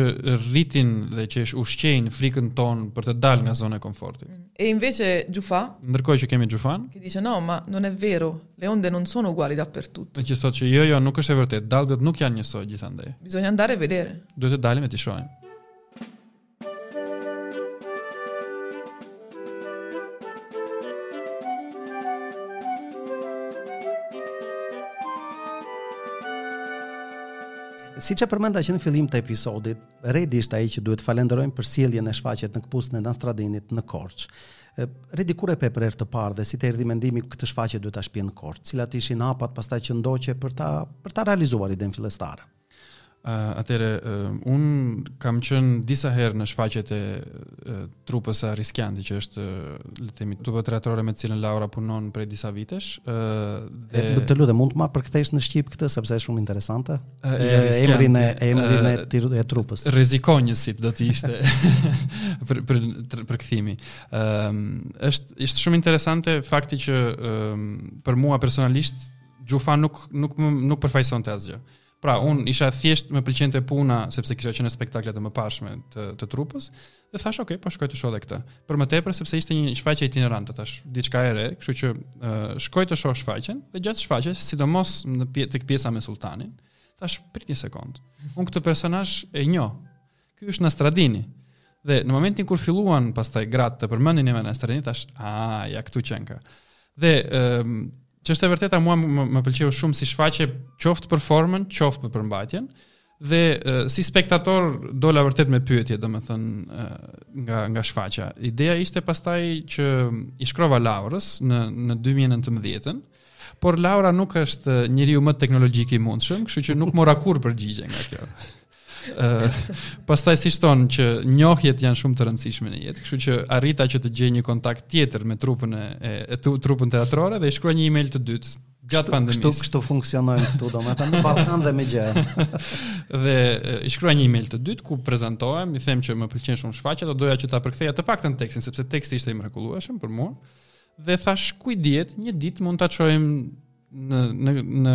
S3: rritin dhe që ish ushqejnë frikën tonë për të dalë nga zona e komfortit.
S2: E invece Giuffà,
S3: Ndërkohë që kemi Gjufan,
S2: che dice no, ma non è vero, le onde non sono uguali dappertutto,
S3: dhe që thotë që jo, jo, nuk është e vërtet, dalgët nuk janë njësoj gjithandej.
S2: bisogna andare a vedere.
S3: Duhet të dalim e të shohim.
S1: Si që përmenda që në fillim të episodit, Redi ishte ai që duhet falenderojmë për sjelljen e shfaqjet në këpusën e Nastradinit në Korç. E, Redi kur e pe për herë të parë dhe si të erdhi mendimi këtë shfaqje duhet ta shpjen në Korç, cilat ishin hapat pastaj që ndoqe për ta për ta realizuar idenë fillestare.
S3: Uh, atëre, uh, unë kam qënë disa herë në shfaqet e uh, trupës a Riskjanti, që është, uh, le të themi, trupa teatrore me të cilën Laura punon prej disa vitesh. Uh,
S1: E,
S3: dhe
S1: të lutem, mund të marr përkthesh në shqip këtë sepse është shumë interesante.
S3: E,
S1: E,
S3: ja, riskante.
S1: emrin e emrin e,
S3: E,
S1: tiru- e trupës.
S3: rrezikonjësit do të ishte për për për, për kthimi. Ëm është ishte shumë interesante fakti që ëm për mua personalisht Gjufa nuk nuk më, nuk përfaqësonte asgjë. Pra, unë isha thjesht me pëlqente puna sepse kisha qenë në spektakle të mëparshme të, të trupës dhe thash, ok, po shkoj të shoh edhe këtë. Për më tepër sepse ishte një shfaqje itinerante, thash, diçka e re, kështu që uh, shkoj të shoh shfaqjen dhe gjatë shfaqjes, sidomos në pje- tek pjesa me sultanin, thash, prit një sekond. Unë këtë personazh e njoh. Ky është Nastradini. Dhe në momentin kur filluan pastaj gratë të përmendin emrin e Nastradini, thash, a, ja këtu qen ka. Dhe ëm që është e vërteta mua më, më pëlqeu shumë si shfaqje qoftë performën, qoftë për përmbajtjen dhe e, si spektator dola vërtet me pyetje, domethënë ë, nga nga shfaqja. Ideja ishte pastaj që i shkrova Laurës në në 2019-ën, por Laura nuk është njeriu më teknologjik i mundshëm, kështu që nuk mora kur përgjigje nga kjo. Ë pastaj si shton që njohjet janë shumë të rëndësishme në jetë, kështu që arrita që të gjej një kontakt tjetër me trupën e, e, e tu- trupën teatrore dhe i shkruaj një email të dytë gjatë
S1: Kështu
S3: pandemisë.
S1: kështu funksionojmë këtu domethënë në Ballkan dhe me gjë.
S3: Dhe e, i shkruaj një email të dytë ku prezantohem, i them që më pëlqen shumë shfaqja, do doja që ta përktheja të paktën tekstin sepse teksti ishte i mrekullueshëm për mua. Dhe thash, ku i dihet, një ditë mund ta çojmë në në në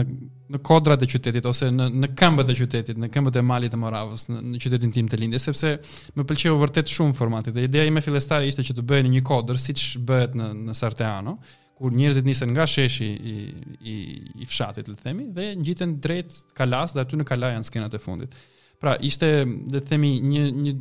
S3: në kodrat e qytetit ose në në këmbët e qytetit, në këmbët e malit të Moravës, në, në qytetin tim të lindjes, sepse më pëlqeu vërtet shumë formati. Dhe ideja ime fillestare ishte që të bëhej në një kodër siç bëhet në në Sarteano, kur njerëzit nisen nga sheshi i i, i fshatit, le të themi, dhe ngjiten drejt kalas dhe aty në kala janë skenat e fundit. Pra, ishte le të themi një një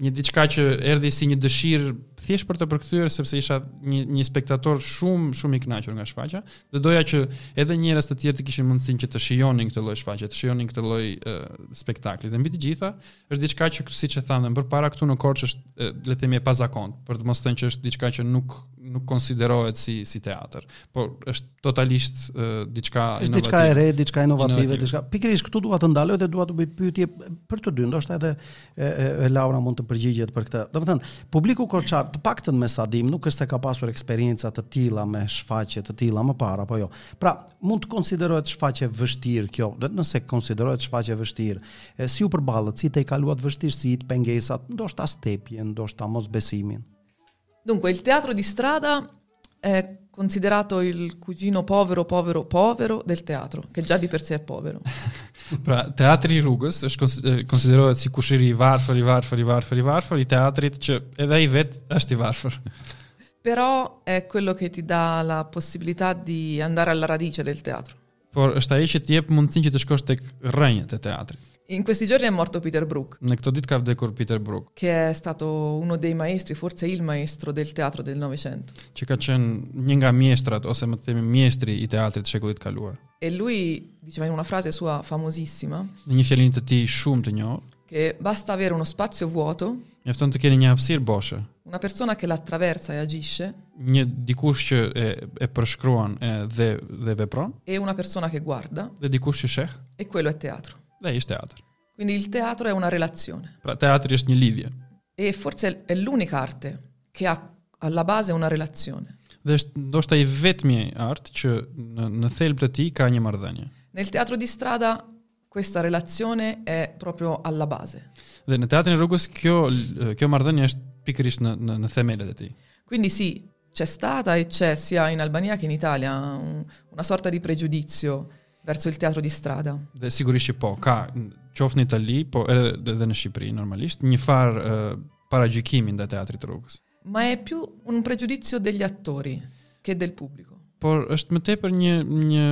S3: një diçka që erdhi si një dëshirë thjesht për të përkthyer sepse isha një një spektator shumë shumë i kënaqur nga shfaqja dhe doja që edhe njerëz të tjerë të kishin mundësinë që të shijonin këtë lloj shfaqje, të shijonin këtë lloj uh, spektakli. Dhe mbi të gjitha, është diçka që siç e thamë më parë këtu në Korçë është e, le të themi e pazakont, për të mos thënë që është diçka që nuk nuk konsiderohet si si teatr, por është totalisht e, diçka
S1: Është diçka e
S3: inovative.
S1: re, diçka inovative,
S3: Inovative.
S1: diçka. Pikërisht këtu dua të ndaloj dhe dua të bëj pyetje për të dy, ndoshta edhe e, e, e, Laura mund të përgjigjet për këtë. Domethënë, publiku korçar, të paktën me sa dim, nuk është se ka pasur eksperienca të tilla me shfaqje të tilla më parë apo jo. Pra, mund të konsiderohet shfaqje vështirë kjo, dhe nëse konsiderohet shfaqje vështirë, e, si u përballët, si te i kaluat vështirësitë, pengesat, ndoshta stepjen, ndoshta mosbesimin.
S2: Dunque, il teatro di strada è considerato il cugino povero, povero, povero del teatro, che già di per sé è povero.
S3: Pra, teatri i rrugës është konsi- e, konsiderohet si kushiri i varfër, i varfër, i varfër, i varfër i teatrit që edhe ai vet është i varfër.
S2: Però è quello che ti dà la possibilità di andare alla radice del teatro.
S3: Por është ai që të jep mundësinë që të shkosh tek rrënjët e teatrit.
S2: In questi giorni è morto Peter Brook,
S3: Në këto ditë ka vdekur Peter Brook,
S2: che è stato uno dei maestri, forse il maestro del teatro del Novecento.
S3: që ka qenë një nga mjeshtrat ose më të themi mjeshtri i teatrit të shekullit të kaluar.
S2: E lui diceva in una frase sua famosissima
S3: Në një fjalinë të tij shumë të njohur,
S2: che basta avere uno spazio vuoto,
S3: mjafton të keni një hapësirë boshe,
S2: una persona che la attraversa e agisce
S3: një dikush që e, e përshkruan e, dhe dhe vepron
S2: e una persona che guarda,
S3: dhe dikush që sheh
S2: e quello è teatro.
S3: dhe ai është teatr.
S2: Quindi il teatro è una relazione.
S3: Pra teatri është një lidhje
S2: E forse è l'unica arte che ha alla base una relazione.
S3: dhe është ndoshta i vetmi art që në, në thelb të tij ka një marrëdhënie.
S2: Nel teatro di strada questa relazione è proprio alla base.
S3: Dhe në teatrin e rrugës kjo kjo marrëdhënie është pikërisht në në, në themelet e tij.
S2: Quindi sì, c'è stata e c'è sia in Albania che in Italia un- una sorta di pregiudizio verso il teatro di strada.
S3: Dhe sigurisht që po, ka qoftë në Itali, po edhe edhe në Shqipëri normalisht, një farë uh, paragjykimi ndaj teatrit të rrugës.
S2: Ma è più un pregiudizio degli attori che del pubblico.
S3: Por është më tepër një një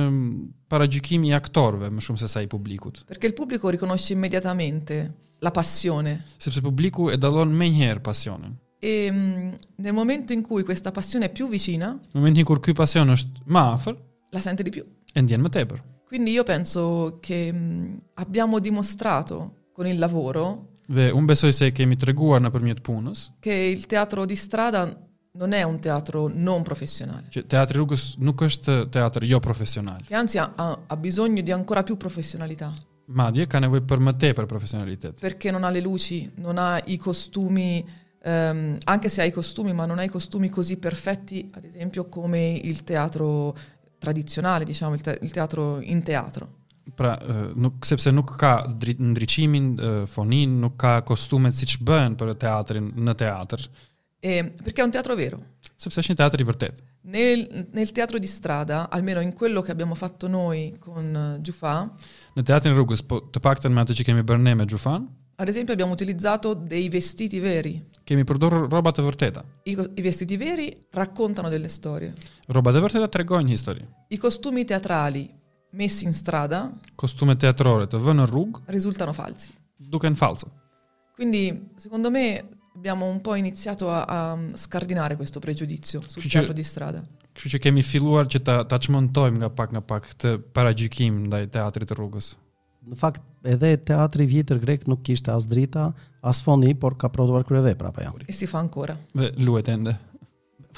S3: paragjykim i aktorëve më shumë se sa i publikut,
S2: Perché il pubblico riconosce immediatamente la passione
S3: sepse publiku e dallon më njëherë pasionin.
S2: e mh, nel momento in cui questa passione è più vicina,
S3: Në momentin kur ky pasion është më afër,
S2: la sente di più.
S3: e ndjen më tepër.
S2: Quindi io penso che mh, abbiamo dimostrato con il lavoro
S3: Dhe unë besoj se e kemi treguar nëpërmjet punës
S2: che il teatro di strada non è un teatro non professionale,
S3: që teatri i rrugës nuk është teatr jo profesional.
S2: che anzi ha- ha, ha bisogno di ancora più professionalità,
S3: Madje ka nevojë për më tepër profesionalitet.
S2: perché non ha le luci, non ha i costumi, ehm, anche se ha i costumi, ma non ha i costumi così perfetti, ad esempio come il teatro tradizionale, diciamo, il, te- il teatro in teatro.
S3: Pra, ë, nuk sepse nuk ka dri- ndriçimin, ë, fonin, nuk ka kostumet siç bëhen për teatrin në teatr,
S2: E- perché è un teatro vero.
S3: sepse është një teatr i vërtet.
S2: Nel, nel teatro di strada, almeno in quello che abbiamo fatto noi con eh, Giufà,
S3: Në teatrin e rrugës, po të paktën me atë që kemi bërë ne me Xhufan,
S2: ad esempio abbiamo utilizzato dei vestiti veri.
S3: kemi përdorur rroba të vërteta.
S2: I, co- i vestiti veri raccontano delle storie.
S3: Rrobat e vërteta tregojnë histori.
S2: I costumi teatrali messi in strada
S3: Kostumet teatrore të vënë në rrugë
S2: risultano falsi.
S3: duken falso.
S2: Quindi, secondo me, abbiamo un po' iniziato a, a scardinare questo pregiudizio sul
S3: Cioè-
S2: teatro di strada.
S3: Kështu që kemi filluar që ta ta çmontojmë nga pak nga pak këtë paragjykim ndaj teatrit të rrugës.
S1: Në fakt, edhe teatri vjetër grek nuk kishte as drita, as foni, por ka prodhuar kryevepra apo jo.
S2: E si fa ancora.
S3: Dhe luhet ende.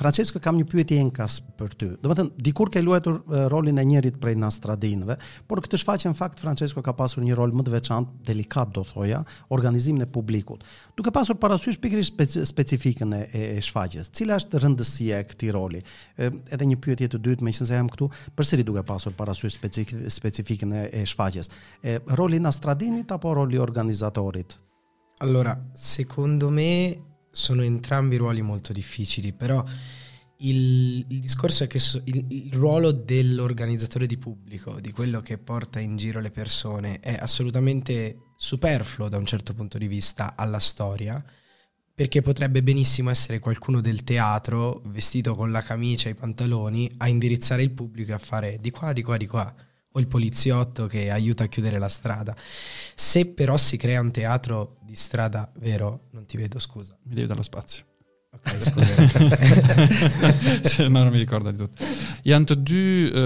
S1: Francesco, kam një pyetje në kas për ty. Do të thënë, dikur ke luajtur e, rolin e njërit prej Nastradinëve, por këtë shfaqje në fakt Francesco ka pasur një rol më të veçantë, delikat do thoja, organizimin e publikut. Duke pasur parasysh pikërisht speci specifikën e, e, e shfaqjes, cila është rëndësia e këtij roli? E, edhe një pyetje të dytë, meqense jam këtu, përsëri duke pasur parasysh specif specifikën e, e shfaqjes. E, roli i Nastradinit apo roli i organizatorit?
S4: Allora, secondo me sono entrambi ruoli molto difficili, però il, il discorso è che so- il, il ruolo dell'organizzatore di pubblico, di quello che porta in giro le persone, è assolutamente superfluo da un certo punto di vista alla storia, perché potrebbe benissimo essere qualcuno del teatro, vestito con la camicia e i pantaloni, a indirizzare il pubblico e a fare di qua, di qua, di qua, o il poliziotto che aiuta a chiudere la strada. Se però si crea un teatro di strada vero, non ti vedo, scusa.
S3: Mi devi dallo spazio.
S4: Ok, scusa.
S3: Se ma non mi ricordo di tutto. Janë të dy ë,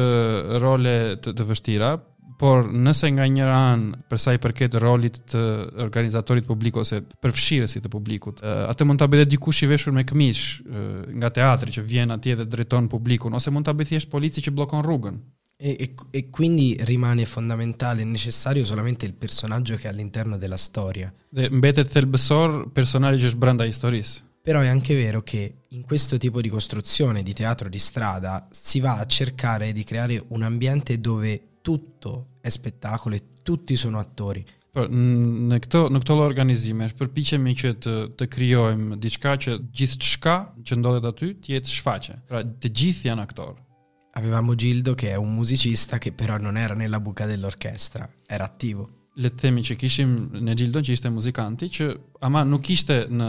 S3: role të, të vështira, por nëse nga njëra anë për sa i përket rolit të organizatorit publik ose përfshirësit të publikut, ë, atë mund ta bëjë dhe dikush i veshur me këmish ë, nga teatri që vjen atje dhe drejton publikun ose mund ta bëjë thjesht polici që bllokon rrugën.
S4: e, e- e quindi rimane fondamentale e necessario solamente il personaggio che è all'interno della storia.
S3: Dhe mbetet thelbësor personazhi që është brenda historisë.
S4: Però è anche vero che in questo tipo di costruzione di teatro di strada si va a cercare di creare un ambiente dove tutto è spettacolo e tutti sono attori.
S3: Por Po, n- në këto në këto lloj organizime përpiqemi që të të krijojmë diçka që gjithçka që ndodhet aty të jetë shfaqe. Pra të gjithë janë aktorë.
S4: Avevamo Gildo che è un musicista che però non era nella buca dell'orchestra, era attivo.
S3: Le të themi që kishim në Gjildon që ishte muzikanti që ama nuk ishte në,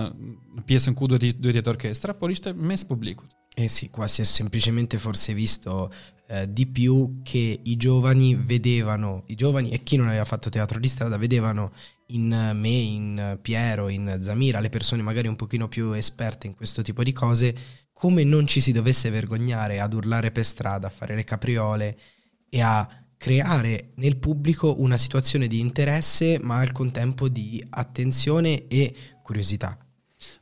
S3: në pjesën ku duhet ish- duhet jetë orkestra, por ishte mes publikut.
S4: Eh sì, qua si è semplicemente forse visto eh, di più che i giovani vedevano, i giovani e chi non aveva fatto teatro di strada vedevano in eh, me, in eh, Piero, in Zamira, le persone magari un pochino più esperte in questo tipo di cose, come non ci si dovesse vergognare ad urlare per strada, a fare le capriole e a creare nel pubblico una situazione di interesse ma al contempo di attenzione e curiosità.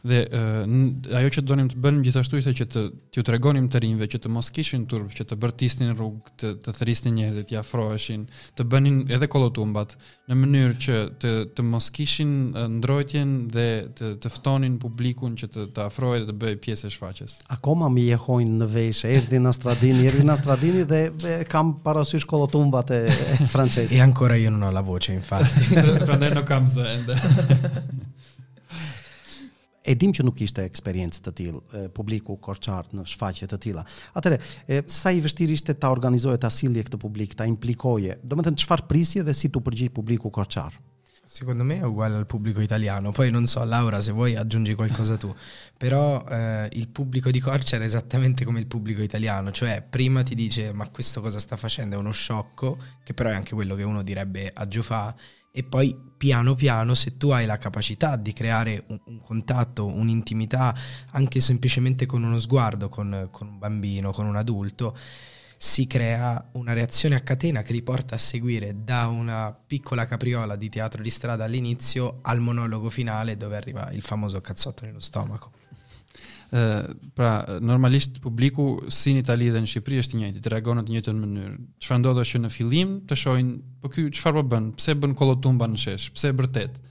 S3: Dhe ë, n- ajo që donim të bënim gjithashtu ishte që të t'ju tregonim të rinjve që të mos kishin turp, që të bërtisnin rrugë, të të thrisnin njerëzit, t'i afroheshin, të bënin edhe kollotumbat në mënyrë që të të mos kishin ë, ndrojtjen dhe të të ftonin publikun që të të afrohej dhe të bëjë pjesë e shfaqjes.
S1: akoma më jehojnë në veshë, erdi Nastradini, erdi Nastradini dhe e, kam parasysh kollotumbat e, e
S4: E
S1: Francesco.
S4: ancora io non ho la voce, infatti.
S3: Prandaj nuk kam zë ende.
S1: e dim që nuk ishte eksperiencë të tillë, e, publiku korçart në shfaqje të tilla. Atëre, e, sa i vështirë ishte ta organizoje ta sillje këtë publik, ta implikoje. Domethënë çfarë prisje dhe si tu përgjigj publiku korçar?
S4: Secondo me è uguale al pubblico italiano, poi non so Laura se vuoi aggiungi qualcosa tu, però eh, il pubblico di Corcia era esattamente come il pubblico italiano, cioè prima ti dice ma questo cosa sta facendo è uno sciocco, che però è anche quello che uno direbbe a Giofà, e poi piano piano se tu hai la capacità di creare un, un contatto, un'intimità anche semplicemente con uno sguardo, con, con un bambino, con un adulto, si crea una reazione a catena che li porta a seguire da una piccola capriola di teatro di strada all'inizio al monologo finale dove arriva il famoso cazzotto nello stomaco.
S3: Ë, pra normalisht publiku si në Itali dhe në Shqipëri është i njëjti, të reagon në të njëjtën mënyrë. Çfarë ndodh është që në fillim të shohin, po ky çfarë po bën? Pse bën kollotumba në shesh? Pse e bërtet?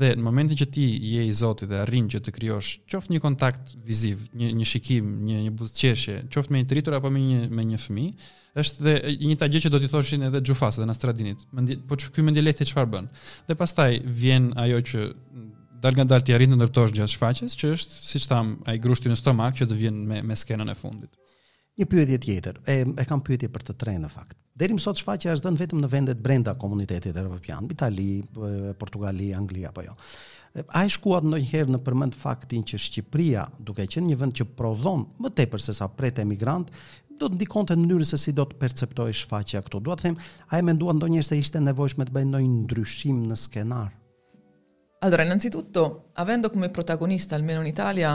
S3: Dhe në momentin që ti je i Zotit dhe arrin që të krijosh qoftë një kontakt viziv, një një shikim, një një buzëqeshje, qoftë me një tritur apo me një me një fëmijë, është dhe njëta gjë që do t'i thoshin edhe Xhufas dhe Nastradinit. Mendi, po që ky mendieleti çfarë bën? Dhe pastaj vjen ajo që dal nga dal ti arrin të ndërtosh gjatë shfaqjes, që është siç tham, ai grushti në stomak që të vjen me me skenën e fundit.
S1: Një pyetje tjetër. E, e kam pyetje për të tre në fakt. Deri më sot shfaqja është dhënë vetëm në vendet brenda komunitetit evropian, Itali, e, Portugali, Angli apo jo. E, A e shkuat ndonjëherë në përmend faktin që Shqipëria, duke qenë një vend që prodhon më tepër se sa pret emigrant, do të ndikonte në mënyrën se si do të perceptohej shfaqja këtu. Dua të them, a e mendua ndonjëherë se ishte nevojshme të bëjë ndonjë ndryshim në skenar?
S2: Allora, innanzitutto, avendo come protagonista, almeno in Italia,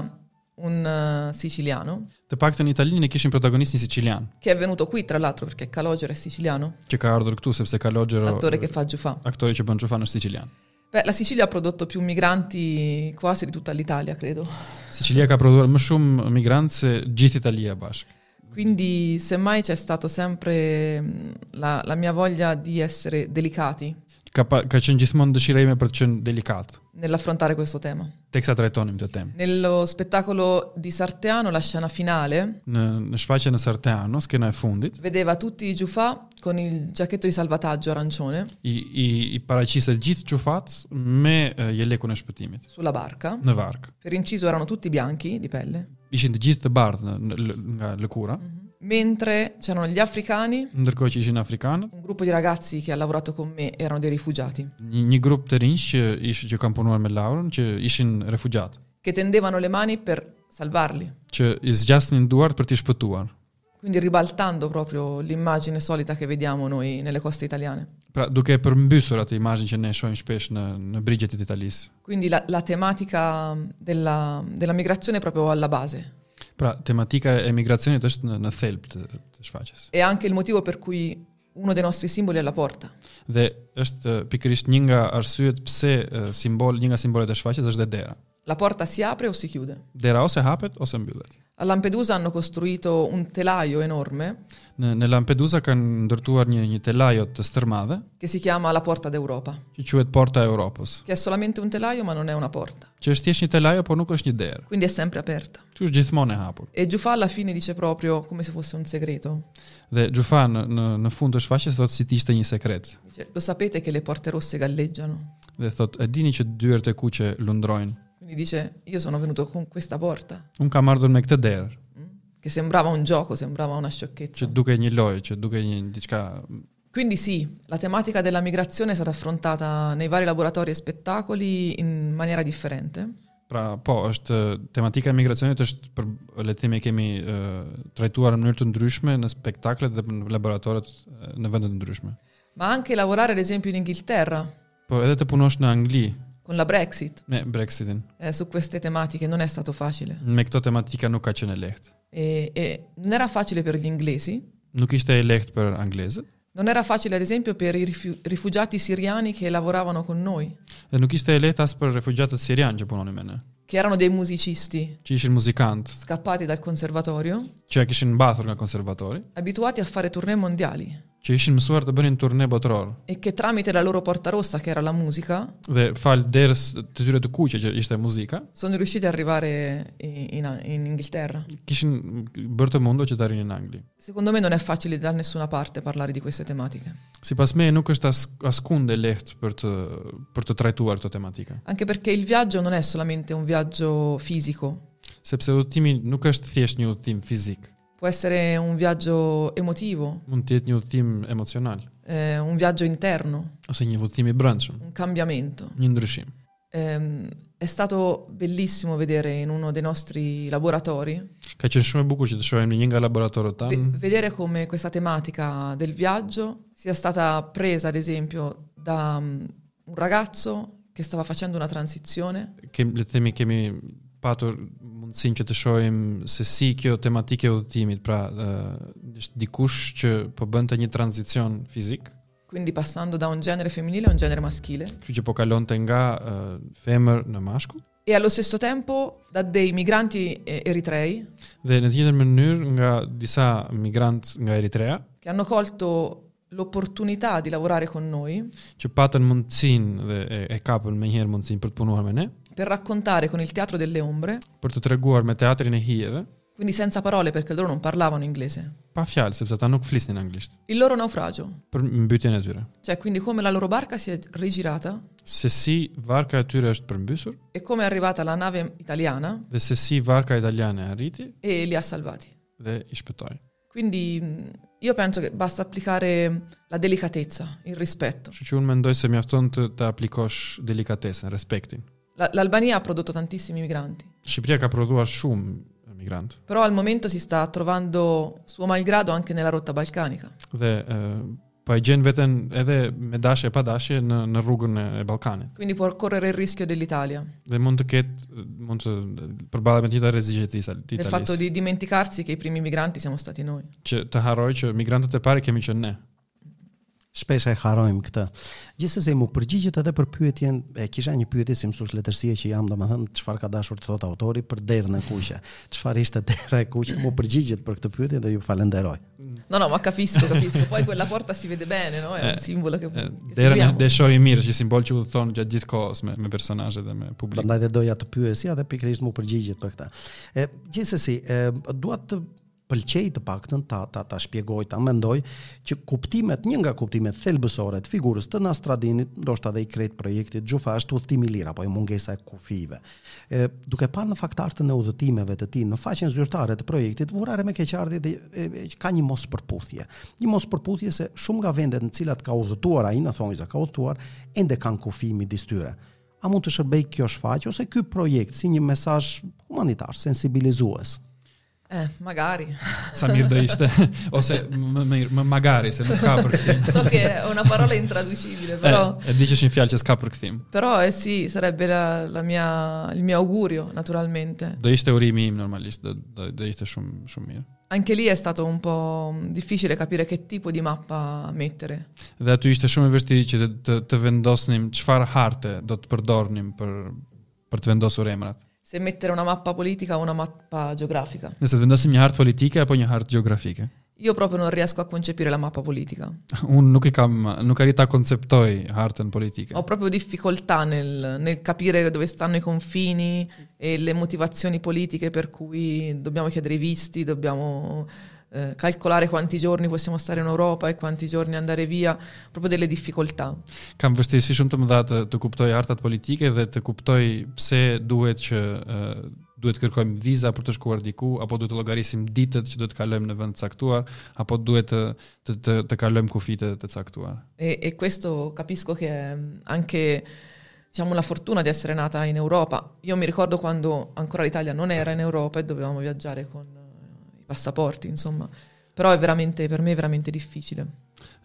S2: un eh, siciliano,
S3: Të paktën në Italinë ne kishim protagonistin sicilian,
S2: che è venuto qui, tra l'altro, perché Calogero è siciliano,
S3: që ka ardhur këtu sepse Kalogjero
S2: l'attore che fa Giufà.
S3: aktori që bën Xhufan është sicilian.
S2: Beh, la Sicilia ha prodotto più migranti quasi di tutta l'Italia, credo.
S3: Sicilia ka prodhuar më shumë migrantë se gjithë Italia bashkë.
S2: Quindi, semmai c'è stato sempre mh, la, la mia voglia di essere delicati
S3: Ka pa, ka qenë gjithmonë dëshira ime për të qenë delikat,
S2: nell'affrontare questo tema.
S3: teksa trajtonim këtë temë.
S2: Nello spettacolo di Sarteano, la scena finale
S3: Në në shfaqjen e Sarteano, skena e fundit,
S2: vedeva tutti i Giufà con il giacchetto di salvataggio arancione
S3: i i, i paraqiste gjithë çufat me e, jelekun e shpëtimit
S2: sulla barca.
S3: në varg.
S2: Per inciso erano tutti bianchi di pelle,
S3: Ishin të gjithë të bardhë në, në, l- nga lëkura,
S2: mentre c'erano gli africani,
S3: ndërkohë që ishin afrikanë,
S2: un gruppo di ragazzi che ha lavorato con me erano dei rifugiati,
S3: një, një grup të rinj që ish që kanë punuar me Laurën, që ishin refugjat,
S2: che tendevano le mani per salvarli.
S3: që i zgjasnin duart për t'i shpëtuar.
S2: Quindi ribaltando proprio l'immagine solita che vediamo noi nelle coste italiane.
S3: Pra duke e përmbysur atë imazhin që ne shohim shpesh në në brigjet e Italisë.
S2: Quindi la, la tematica della, della migrazione è proprio alla base.
S3: Pra tematika e migracionit është në në thelb të, të shfaqjes.
S2: È anche il motivo per cui uno dei nostri simboli è la porta.
S3: Dhe është eh, pikërisht një nga arsyet pse eh, simbol, një nga simbolet e shfaqjes është dhe dera.
S2: La porta si apre o si chiude.
S3: Dera ose hapet ose mbyllet.
S2: A Lampedusa hanno costruito un telaio enorme
S3: Në në Lampedusa kanë ndërtuar një një telajo të stërmadhe
S2: che si chiama La Porta d'Europa,
S3: që quhet Porta e Europës,
S2: che è solamente un telaio ma non è una porta,
S3: që është thjesht një telajo por nuk është një derë.
S2: quindi è sempre aperta.
S3: Ky është gjithmonë e hapur.
S2: E Giuffà alla fine dice proprio come se fosse un segreto.
S3: Dhe Xhufa në në, në fund të shfaqjes thotë si të ishte një sekret.
S2: Dice, lo sapete che le porte rosse galleggiano?
S3: Dhe thotë e dini që dyert e kuqe lundrojnë.
S2: Quindi dice, io sono venuto con questa porta,
S3: Un kam ardhur me këtë derë,
S2: mm? che sembrava un gioco, sembrava una
S3: që
S2: sciocchezza.
S3: duke një lojë, që duke një diçka
S2: Quindi sì, la tematica della migrazione sarà affrontata nei vari laboratori e spettacoli in maniera differente.
S3: Pra, po, është eh, tematika e migracionit është për le të themi e kemi uh, trajtuar në mënyrë të ndryshme në spektaklet dhe në laboratoret eh, në vende të ndryshme.
S2: Ma anche lavorare ad esempio in Inghilterra,
S3: Por edhe të punosh në Angli
S2: con la Brexit,
S3: me Brexitin,
S2: eh, su queste tematiche non è stato facile.
S3: me këto tematika nuk ka qenë e lehtë.
S2: E- e non era facile per gli inglesi,
S3: Nuk ishte e lehtë për anglezët
S2: non era facile ad esempio per i rifiu- rifugiati siriani che lavoravano con noi,
S3: dhe nuk ishte e lehtë as për refugjatët sirian që punonin me ne,
S2: che erano dei musicisti
S3: që ishin muzikantë
S2: scappati dal conservatorio,
S3: që e kishin mbathur nga konservatori,
S2: abituati a fare tournée mondiali
S3: që ishin mësuar të bënin turne botror
S2: e che tramite la loro porta rossa, che era la musica,
S3: dhe fal derës të tyre të kuqe që ishte muzika,
S2: sono riusciti ad arrivare i- in, in Inghilterra.
S3: kishin bërë të mundur që të arrinin në Angli.
S2: Secondo me non è facile da nessuna parte parlare di queste tematiche,
S3: Si pas me nuk është as, askunde lehtë për të, për të trajtuar këto tematika.
S2: anche perché il viaggio non è solamente un viaggio fisico,
S3: Sepse udhtimi nuk është thjesht një udhtim fizik.
S2: può essere un viaggio emotivo,
S3: Mund të jetë një udhtim emocional
S2: eh, un viaggio interno,
S3: ose një udhtim i brendshëm,
S2: un cambiamento.
S3: një ndryshim.
S2: Ehm, è stato bellissimo vedere in uno dei nostri laboratori,
S3: Ka qenë shumë e bukur që të shohim në një nga laboratorët
S2: ve-
S3: tanë
S2: vedere come questa tematica del viaggio sia stata presa, ad esempio, da mm, un ragazzo che stava facendo una transizione
S3: kem, le themi kemi patur mundësinë që të shohim se si kjo tematike e udhëtimit, pra ë, është dikush që po bënte një tranzicion fizik,
S2: quindi passando da un genere femminile a un genere maschile,
S3: kjo që po kalonte nga ë, femër në mashkull,
S2: e allo stesso tempo da dei migranti eh, eritrei
S3: dhe në të njëjtën mënyrë nga disa migrant nga Eritrea
S2: che hanno colto l'opportunità di lavorare con noi
S3: që patën mundësinë dhe e, e kapën më herë mundësinë për të punuar me ne,
S2: per raccontare con il teatro delle ombre,
S3: për të treguar me teatrin e hijeve,
S2: quindi senza parole perché loro non parlavano inglese,
S3: pa fjalë sepse ata nuk flisnin anglisht,
S2: il loro naufragio,
S3: për mbytjen e tyre.
S2: cioè quindi come la loro barca si è rigirata
S3: Se si varka e tyre është përmbysur
S2: e come è arrivata la nave italiana
S3: dhe se si varka italiane arriti
S2: e li ha salvati.
S3: dhe i shpëtoi.
S2: Quindi mh, io penso che basta applicare la delicatezza, il rispetto.
S3: Kështu që unë mendoj se mjafton të, të aplikosh delikatesën, respektin.
S2: La- L'Albania ha prodotto tantissimi migranti,
S3: Shqipëria ka prodhuar shumë migrantë
S2: però al momento si sta trovando suo malgrado anche nella rotta balcanica.
S3: dhe e, po e gjen veten edhe me dashje e pa dashje në në rrugën e, e Ballkanit.
S2: Quindi può correre il rischio dell'Italia,
S3: Dhe mund të ketë mund të përballet me të njëjtat rreziqe të Itali- të
S2: del fatto
S3: Italisë.
S2: di dimenticarsi che i primi migranti siamo stati noi.
S3: Që të harroj që migrantët e parë kemi qenë ne.
S1: Shpesh e harrojmë këtë. Gjithsesi mu përgjigjet edhe për pyetjen, e kisha një pyetje si mësues letërsie që jam domethënë çfarë ka dashur të thotë autori për derën e kuqe. Çfarë ishte dera e kuqe? Mu përgjigjet për këtë pyetje dhe ju falenderoj.
S2: No, no, ma capisco, capisco. Poi quella porta si vede bene, no? È un
S3: Eh,
S2: simbolo che,
S3: E,
S2: che
S3: Derën
S2: seguiamo.
S3: është deshoj i mirë, që simbol që udhton gjatë gjithë kohës me me personazhe dhe me publik.
S1: Prandaj dhe doja të pyesja dhe pikërisht mu përgjigjet për këtë. E gjithsesi, e dua të pëlqej të paktën ta ta ta shpjegoj, ta mendoj që kuptimet, një nga kuptimet thelbësore të figurës të Nastradinit, ndoshta edhe i krejt projektit Xhufa është udhëtimi i lirë apo e mungesa e kufive. E duke parë në faktartën e udhëtimeve të tij në faqen zyrtare të projektit, vurare me keqardhje dhe e, e, ka një mos përputhje. Një mos përputhje se shumë nga vendet në cilat ka udhëtuar ai, na thonë se ka udhëtuar, ende kanë kufi midis tyre. A mund të shërbej kjo shfaqje ose ky projekt si një mesazh humanitar, sensibilizues?
S2: Eh, magari.
S3: Sa mirë do ishte ose më më, më magari se nuk ka përkthim.
S2: so che è una parola intraducibile,
S3: E,
S2: però,
S3: e di që është një fjalë që s'ka përkthim.
S2: però eh sì, sarebbe la- la mia- il mio augurio, naturalmente.
S3: Do ishte urimi im normalisht, do, do, do ishte shumë shumë mirë.
S2: Anche lì è stato un po' difficile capire che tipo di mappa mettere.
S3: Dhe aty ishte shumë e vështirë që të, të, të vendosnim çfarë harte do të përdornim për për të vendosur emrat.
S2: Se mettere una mappa politica o una mappa geografica.
S3: Nëse të vendosim një hartë politike apo një hartë gjeografike.
S2: Io proprio non riesco a concepire la mappa politica.
S3: Unë nuk e kam nuk arrit ta konceptoj hartën politike.
S2: Ho proprio difficoltà nel, nel capire dove stanno i confini e le motivazioni politiche per cui dobbiamo chiedere i visti, dobbiamo eh, calcolare quanti giorni possiamo stare in Europa e quanti giorni andare via, proprio delle difficoltà.
S3: Kam vështirësi shumë të mëdha të, të kuptoj hartat politike dhe të kuptoj pse duhet që ë, duhet kërkojmë viza për të shkuar diku apo duhet të llogarisim ditët që duhet të kalojmë në vend të caktuar apo duhet të të të, të kalojmë kufite të caktuara.
S2: E, e questo capisco che è mh, anche diciamo, la fortuna di essere nata in Europa. Io mi ricordo quando ancora l'Italia non era in Europa e dovevamo viaggiare con eh, i passaporti, insomma. Però è veramente, per me è veramente difficile.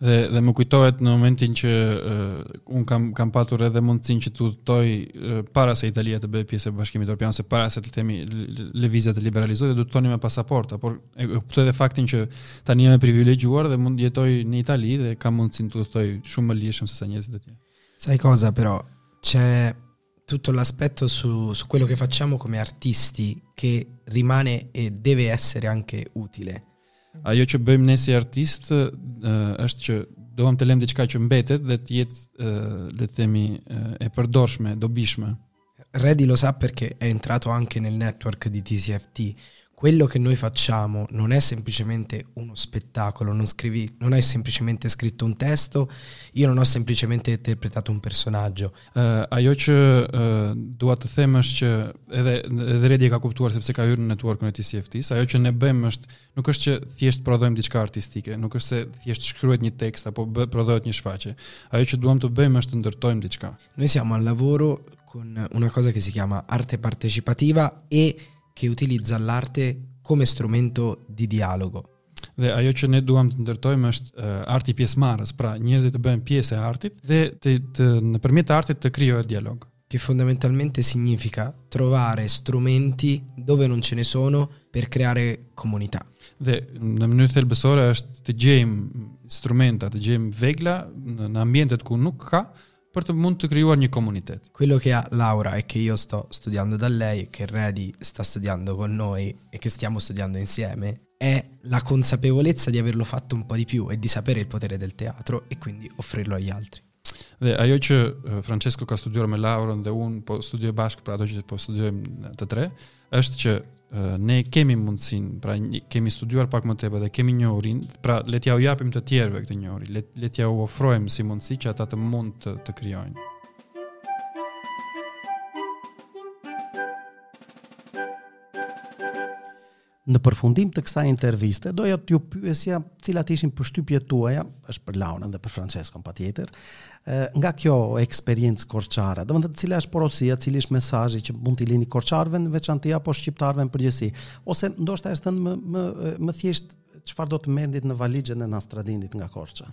S3: Dhe dhe më kujtohet në momentin që uh, un kam kam patur edhe mundësinë që të udhtoj uh, para se Italia të bëjë pjesë e Bashkimit Evropian, se para se të themi lëvizja të liberalizohet, do të udhtoni me pasaportë, por e e kuptoj edhe faktin që tani jam e privilegjuar dhe mund jetoj në Itali dhe kam mundësinë të udhtoj shumë më lirshëm se sa njerëzit e tjerë.
S4: Sai cosa però? C'è tutto l'aspetto su, su quello che facciamo come artisti che rimane e deve essere anche utile.
S3: Ajo që bëjmë ne si artist uh, është që doam të lëm diçka që mbetet dhe të jetë uh, le të themi uh, e përdorshme, dobishme.
S4: Reddy lo sa perché è entrato anche nel network di TCFT, quello che noi facciamo non è semplicemente uno spettacolo, non, scrivi, non hai semplicemente scritto un testo, io non ho semplicemente interpretato un personaggio.
S3: Ë, ajo që ë, dua të them është që edhe edhe Redi e ka kuptuar sepse ka hyrë në networkun e TCFT-s, ajo që ne bëjmë është nuk është që thjesht prodhojmë diçka artistike, nuk është se thjesht shkruhet një tekst apo bë, prodhohet një shfaqje. Ajo që duam të bëjmë është të ndërtojmë diçka.
S4: Noi siamo al lavoro con una cosa che si chiama arte partecipativa e che utilizza l'arte come strumento di dialogo.
S3: Dhe ajo që ne duam të ndërtojmë është ë, arti pjesëmarrës, pra njerëzit të bëjnë pjesë e artit dhe të, të nëpërmjet artit të krijohet dialog.
S4: che fondamentalmente significa trovare strumenti dove non ce ne sono per creare comunità.
S3: Dhe në mënyrë thelbësore është të gjejmë instrumenta, të gjejmë vegla në, në ambientet ku nuk ka për të mund të krijuar një komunitet.
S4: Quello che ha Laura e che io sto studiando da lei, che Redi sta studiando con noi e che stiamo studiando insieme, è la consapevolezza di averlo fatto un po' di più e di sapere il potere del teatro e quindi offrirlo agli altri.
S3: Dhe ajo që ë, Francesco ka studiuar me Laurën dhe unë po studioj bashkë, pra ato që po studiojmë të tre, është që ë, ne kemi mundësinë, pra një- kemi studiuar pak më tepër dhe kemi njohurin, pra le t'ja u japim të tjerëve këtë njohuri, le, le t'ja u ofrojmë si mundësi që ata të mund të, të krijojnë.
S1: Në përfundim të kësaj interviste, doja t'ju pyesja cilat ishin përshtypjet tuaja, është për Laurën dhe për Franceskon patjetër, ë, nga kjo eksperiencë korçare. Domethënë, cila është porosia, cili është mesazhi që mund t'i lini korçarëve në veçantë apo shqiptarëve në përgjithësi, ose ndoshta është thënë më më më thjesht çfarë do të mendit në valizhën e Nastradinit nga Korça.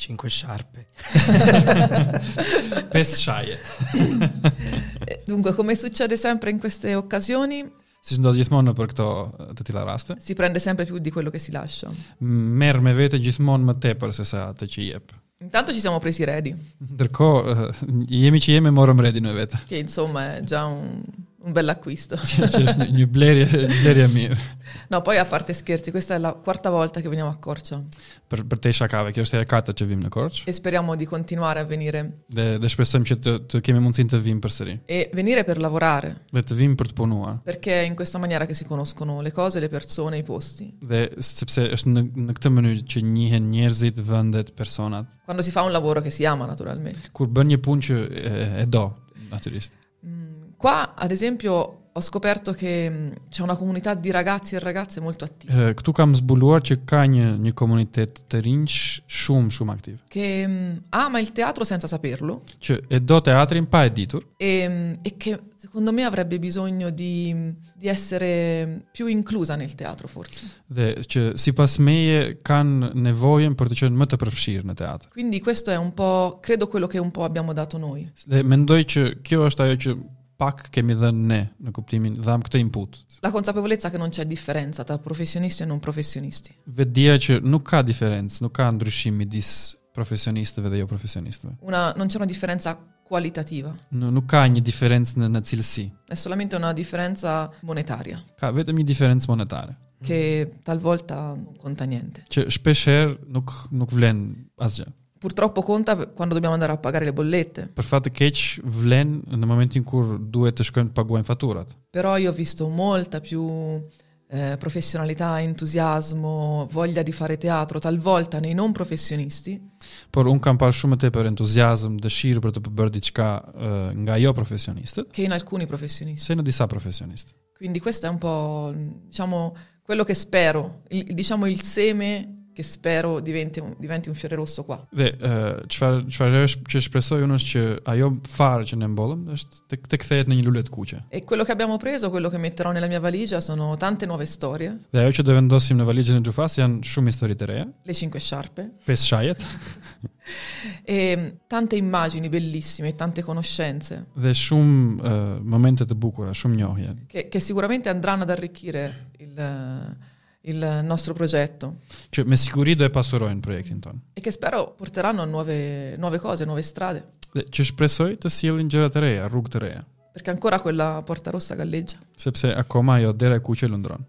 S4: Cinque sciarpe.
S3: Pesë shaje.
S2: Eh, Dunque, come succede sempre in queste occasioni,
S3: Siç ndodh gjithmonë për këto ë, të tilla raste,
S2: si prende sempre più di quello che si lascia.
S3: merr me vete gjithmonë më tepër se sa atë që jep.
S2: Intanto ci siamo presi ready,
S3: Ndërkohë, ë, jemi që jemi morëm redin me vete,
S2: che insomma è già un, un bell'acquisto.
S3: që është një- një blerje, blerje mirë.
S2: No, poi a parte scherzi, questa è la quarta volta che veniamo a Corcia
S3: Për për te shakave, kjo është e katërt që vim në Korçë
S2: e speriamo di continuare a venire
S3: dhe dhe shpresojmë që të, të kemi mundësinë të vim përsëri
S2: e venire per lavorare,
S3: dhe të vim për të punuar.
S2: perché è in questa maniera che si conoscono le cose, le persone, i posti.
S3: Dhe sepse është në në këtë mënyrë që njihen njerëzit, vendet, personat.
S2: Quando si fa un lavoro che si ama, naturalmente.
S3: Kur bën një punë që e, e do, natyrisht.
S2: Mm, Qua, ad esempio, ho scoperto che mm, c'è una comunità di ragazzi e ragazze molto attiva,
S3: Ë, Këtu kam zbuluar që ka një një komunitet të rinj shumë shumë aktiv.
S2: che mm, ama il teatro senza saperlo
S3: që e do teatrin pa e ditur
S2: e, mm, e che secondo me avrebbe bisogno di, di essere più inclusa nel teatro, forse.
S3: dhe që sipas meje kanë nevojën për të qenë më të përfshirë në teatr.
S2: Quindi questo è un po', credo, quello che un po' abbiamo dato noi.
S3: Dhe mendoj që kjo është ajo që pak kemi dhënë ne në kuptimin dham këtë input.
S2: La consapevolezza che non c'è differenza tra professionisti e non professionisti.
S3: Vetdia që nuk ka diferencë, nuk ka ndryshim midis profesionistëve dhe jo profesionistëve.
S2: Una- non c'è una differenza qualitativa,
S3: N- Nuk ka një diferencë në, në cilësi.
S2: è solamente una differenza monetaria,
S3: Ka vetëm një diferencë monetare
S2: che talvolta non conta niente.
S3: që shpeshherë nuk nuk vlen asgjë.
S2: Purtroppo conta per- quando dobbiamo andare a pagare le bollette,
S3: Për fat të keq vlen në momentin kur duhet të shkojnë të paguajnë faturat.
S2: però io ho visto molta più eh, professionalità, entusiasmo, voglia di fare teatro, talvolta nei non professionisti,
S3: por un kam parë shumë më tepër entuziazëm, dëshirë për të përbërë diçka ë, nga jo profesionistët,
S2: che in alcuni professionisti.
S3: se në disa profesionistë.
S2: Quindi questo è un po', diciamo, quello che spero, il- diciamo il seme che spero diventi un, diventi un fiore rosso qua.
S3: Dhe ë, çfarë çfarë është që shpresoj unë është që ajo farë që ne mbollëm është të, të kthehet në një lule të kuqe.
S2: E quello che abbiamo preso, quello che metterò nella mia valigia sono tante nuove storie,
S3: Dhe ajo që do vendosim në valizhën e Xhufas janë shumë histori të reja,
S2: le cinque sciarpe,
S3: pesë shajet
S2: e tante immagini bellissime, e tante conoscenze
S3: dhe shumë ë, momente të bukura, shumë njohje.
S2: che, che sicuramente andranno ad arricchire il, il nostro progetto
S3: Që me siguri do e pasurojnë projektin tonë.
S2: e che spero porteranno a nuove, nuove cose, nuove strade,
S3: Dhe që shpresoj të sjellin gjëra të reja, rrugë të reja,
S2: perché ancora quella porta rossa galleggia.
S3: sepse akoma ajo dera e kuqe lundron.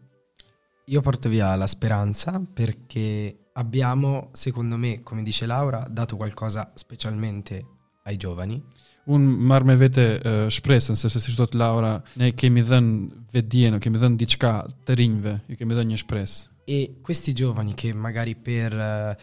S4: Io porto via la speranza perché abbiamo, secondo me, come dice Laura, dato qualcosa specialmente ai giovani
S3: unë marr me vete uh, shpresën sepse siç thot Laura, ne kemi dhënë vedjen, kemi dhënë diçka të rinjve, ju kemi dhënë një shpresë.
S4: E questi giovani che magari per, eh,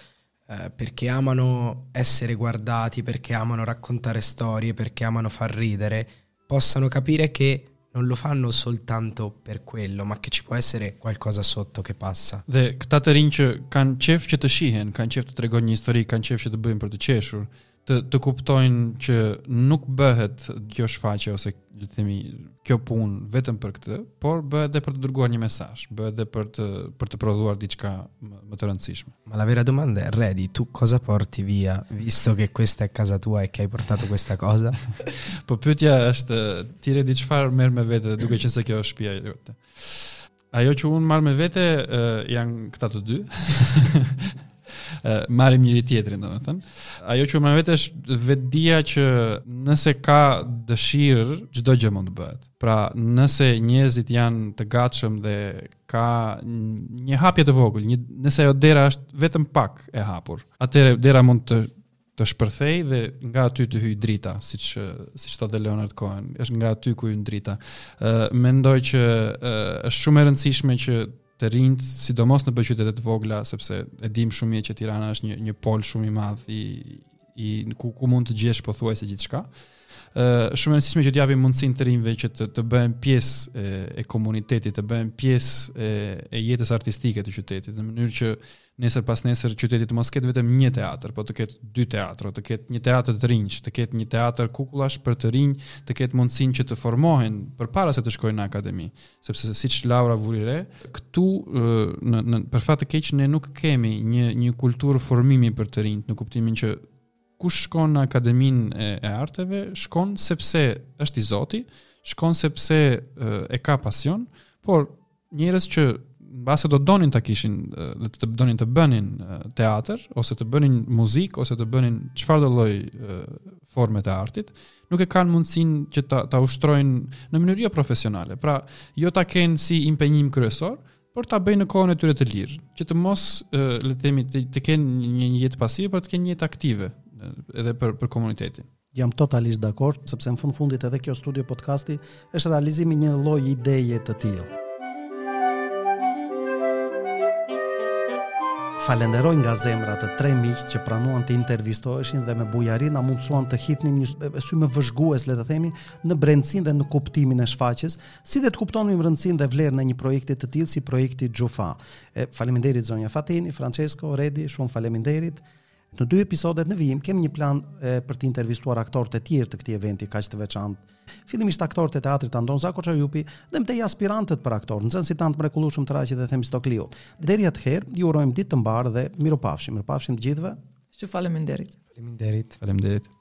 S4: eh, perché amano essere guardati, perché amano raccontare storie, perché amano far ridere, possano capire che non lo fanno soltanto per quello, ma che ci può essere qualcosa sotto che passa.
S3: Dhe këta të rinj që kanë qef që të shihen, kanë qef të tregojnë një histori, kanë qef që të bëjnë për të qeshur, të të kuptojnë që nuk bëhet kjo shfaqje ose le të themi kjo punë vetëm për këtë, por bëhet edhe për të dërguar një mesazh, bëhet edhe për të për të prodhuar diçka më, më të rëndësishme.
S4: Ma la vera domanda è, Reddy, tu cosa porti via, visto che questa è casa tua e che hai portato questa cosa?
S3: Po pyetja është ti re di çfarë merr me vete duke qenë se kjo është shtëpia jote. Ajo që unë marr me vete eh, janë këta të dy. Eh, marrim njëri tjetrin domethënë. Ajo që unë marr me vete është vetdia që nëse ka dëshirë çdo gjë mund të bëhet. Pra nëse njerëzit janë të gatshëm dhe ka një hapje të vogël, një nëse ajo dera është vetëm pak e hapur, atëherë dera mund të të shpërthej dhe nga aty të hyj drita, siç siç thotë Leonard Cohen, është nga aty ku hyn drita. Ë mendoj që ë, është shumë e rëndësishme që të rinjt, sidomos në qytete të vogla, sepse e dim shumë mirë që Tirana është një një pol shumë i madh i i ku ku mund të gjesh pothuajse gjithçka. Ë shumë e rëndësishme që të japim mundësinë të rinjve që të të bëhen pjesë e, e komunitetit, të bëhen pjesë e, e jetës artistike të qytetit, në mënyrë që nesër pas nesër qyteti të mos ketë vetëm një teatr, po të ketë dy teatro, të ketë një teatr të rinj, të ketë një teatr kukullash për të rinj, të ketë mundësinë që të formohen përpara se të shkojnë në akademi, sepse siç Laura vuri re, këtu ë, në në për fat të keq ne nuk kemi një një kulturë formimi për të rinj, në kuptimin që kush shkon në akademinë e, e arteve, shkon sepse është i zoti, shkon sepse ë, e ka pasion, por njerëz që mbase do donin ta kishin ë, dhe të donin të bënin ë, teatr ose të bënin muzikë ose të bënin çfarë do lloj ë, forme të artit, nuk e kanë mundësinë që ta ta ushtrojnë në mënyrë jo profesionale. Pra, jo ta kenë si impenjim kryesor, por ta bëjnë në kohën e tyre të lirë, që të mos ë, le të themi të, të kenë një një jetë pasive, por të kenë një jetë aktive ë, edhe për për komunitetin.
S1: Jam totalisht dakord, sepse në fund fundit edhe kjo studio podcasti është realizimi një lloj ideje të tillë. Falenderoj nga zemra të tre miqtë që pranuan të intervistoheshin dhe me bujarin na mundsuan të hitnim një sy- sy më vëzhgues, le të themi, në brendsinë dhe në kuptimin e shfaqjes, si dhe të kuptonim rëndësinë dhe vlerën e një projekti të tillë si projekti Xhufa. E, Faleminderit zonja Fatini, Francesco, Redi, shumë faleminderit. Në dy episodet në vijim kemi një plan e, për të intervistuar aktorët e tjerë të këtij eventi kaq të veçantë. Fillimisht aktorët e teatrit Anton Zako Çajupi dhe mëtej aspirantët për aktor, nxënësit tanë të mrekullueshëm të Raqit dhe Themistokliut. Deri atëherë, ju urojmë ditë të mbarë dhe mirupafshim. Mirupafshim të gjithëve.
S2: Që faleminderit.
S4: Faleminderit.
S3: Faleminderit.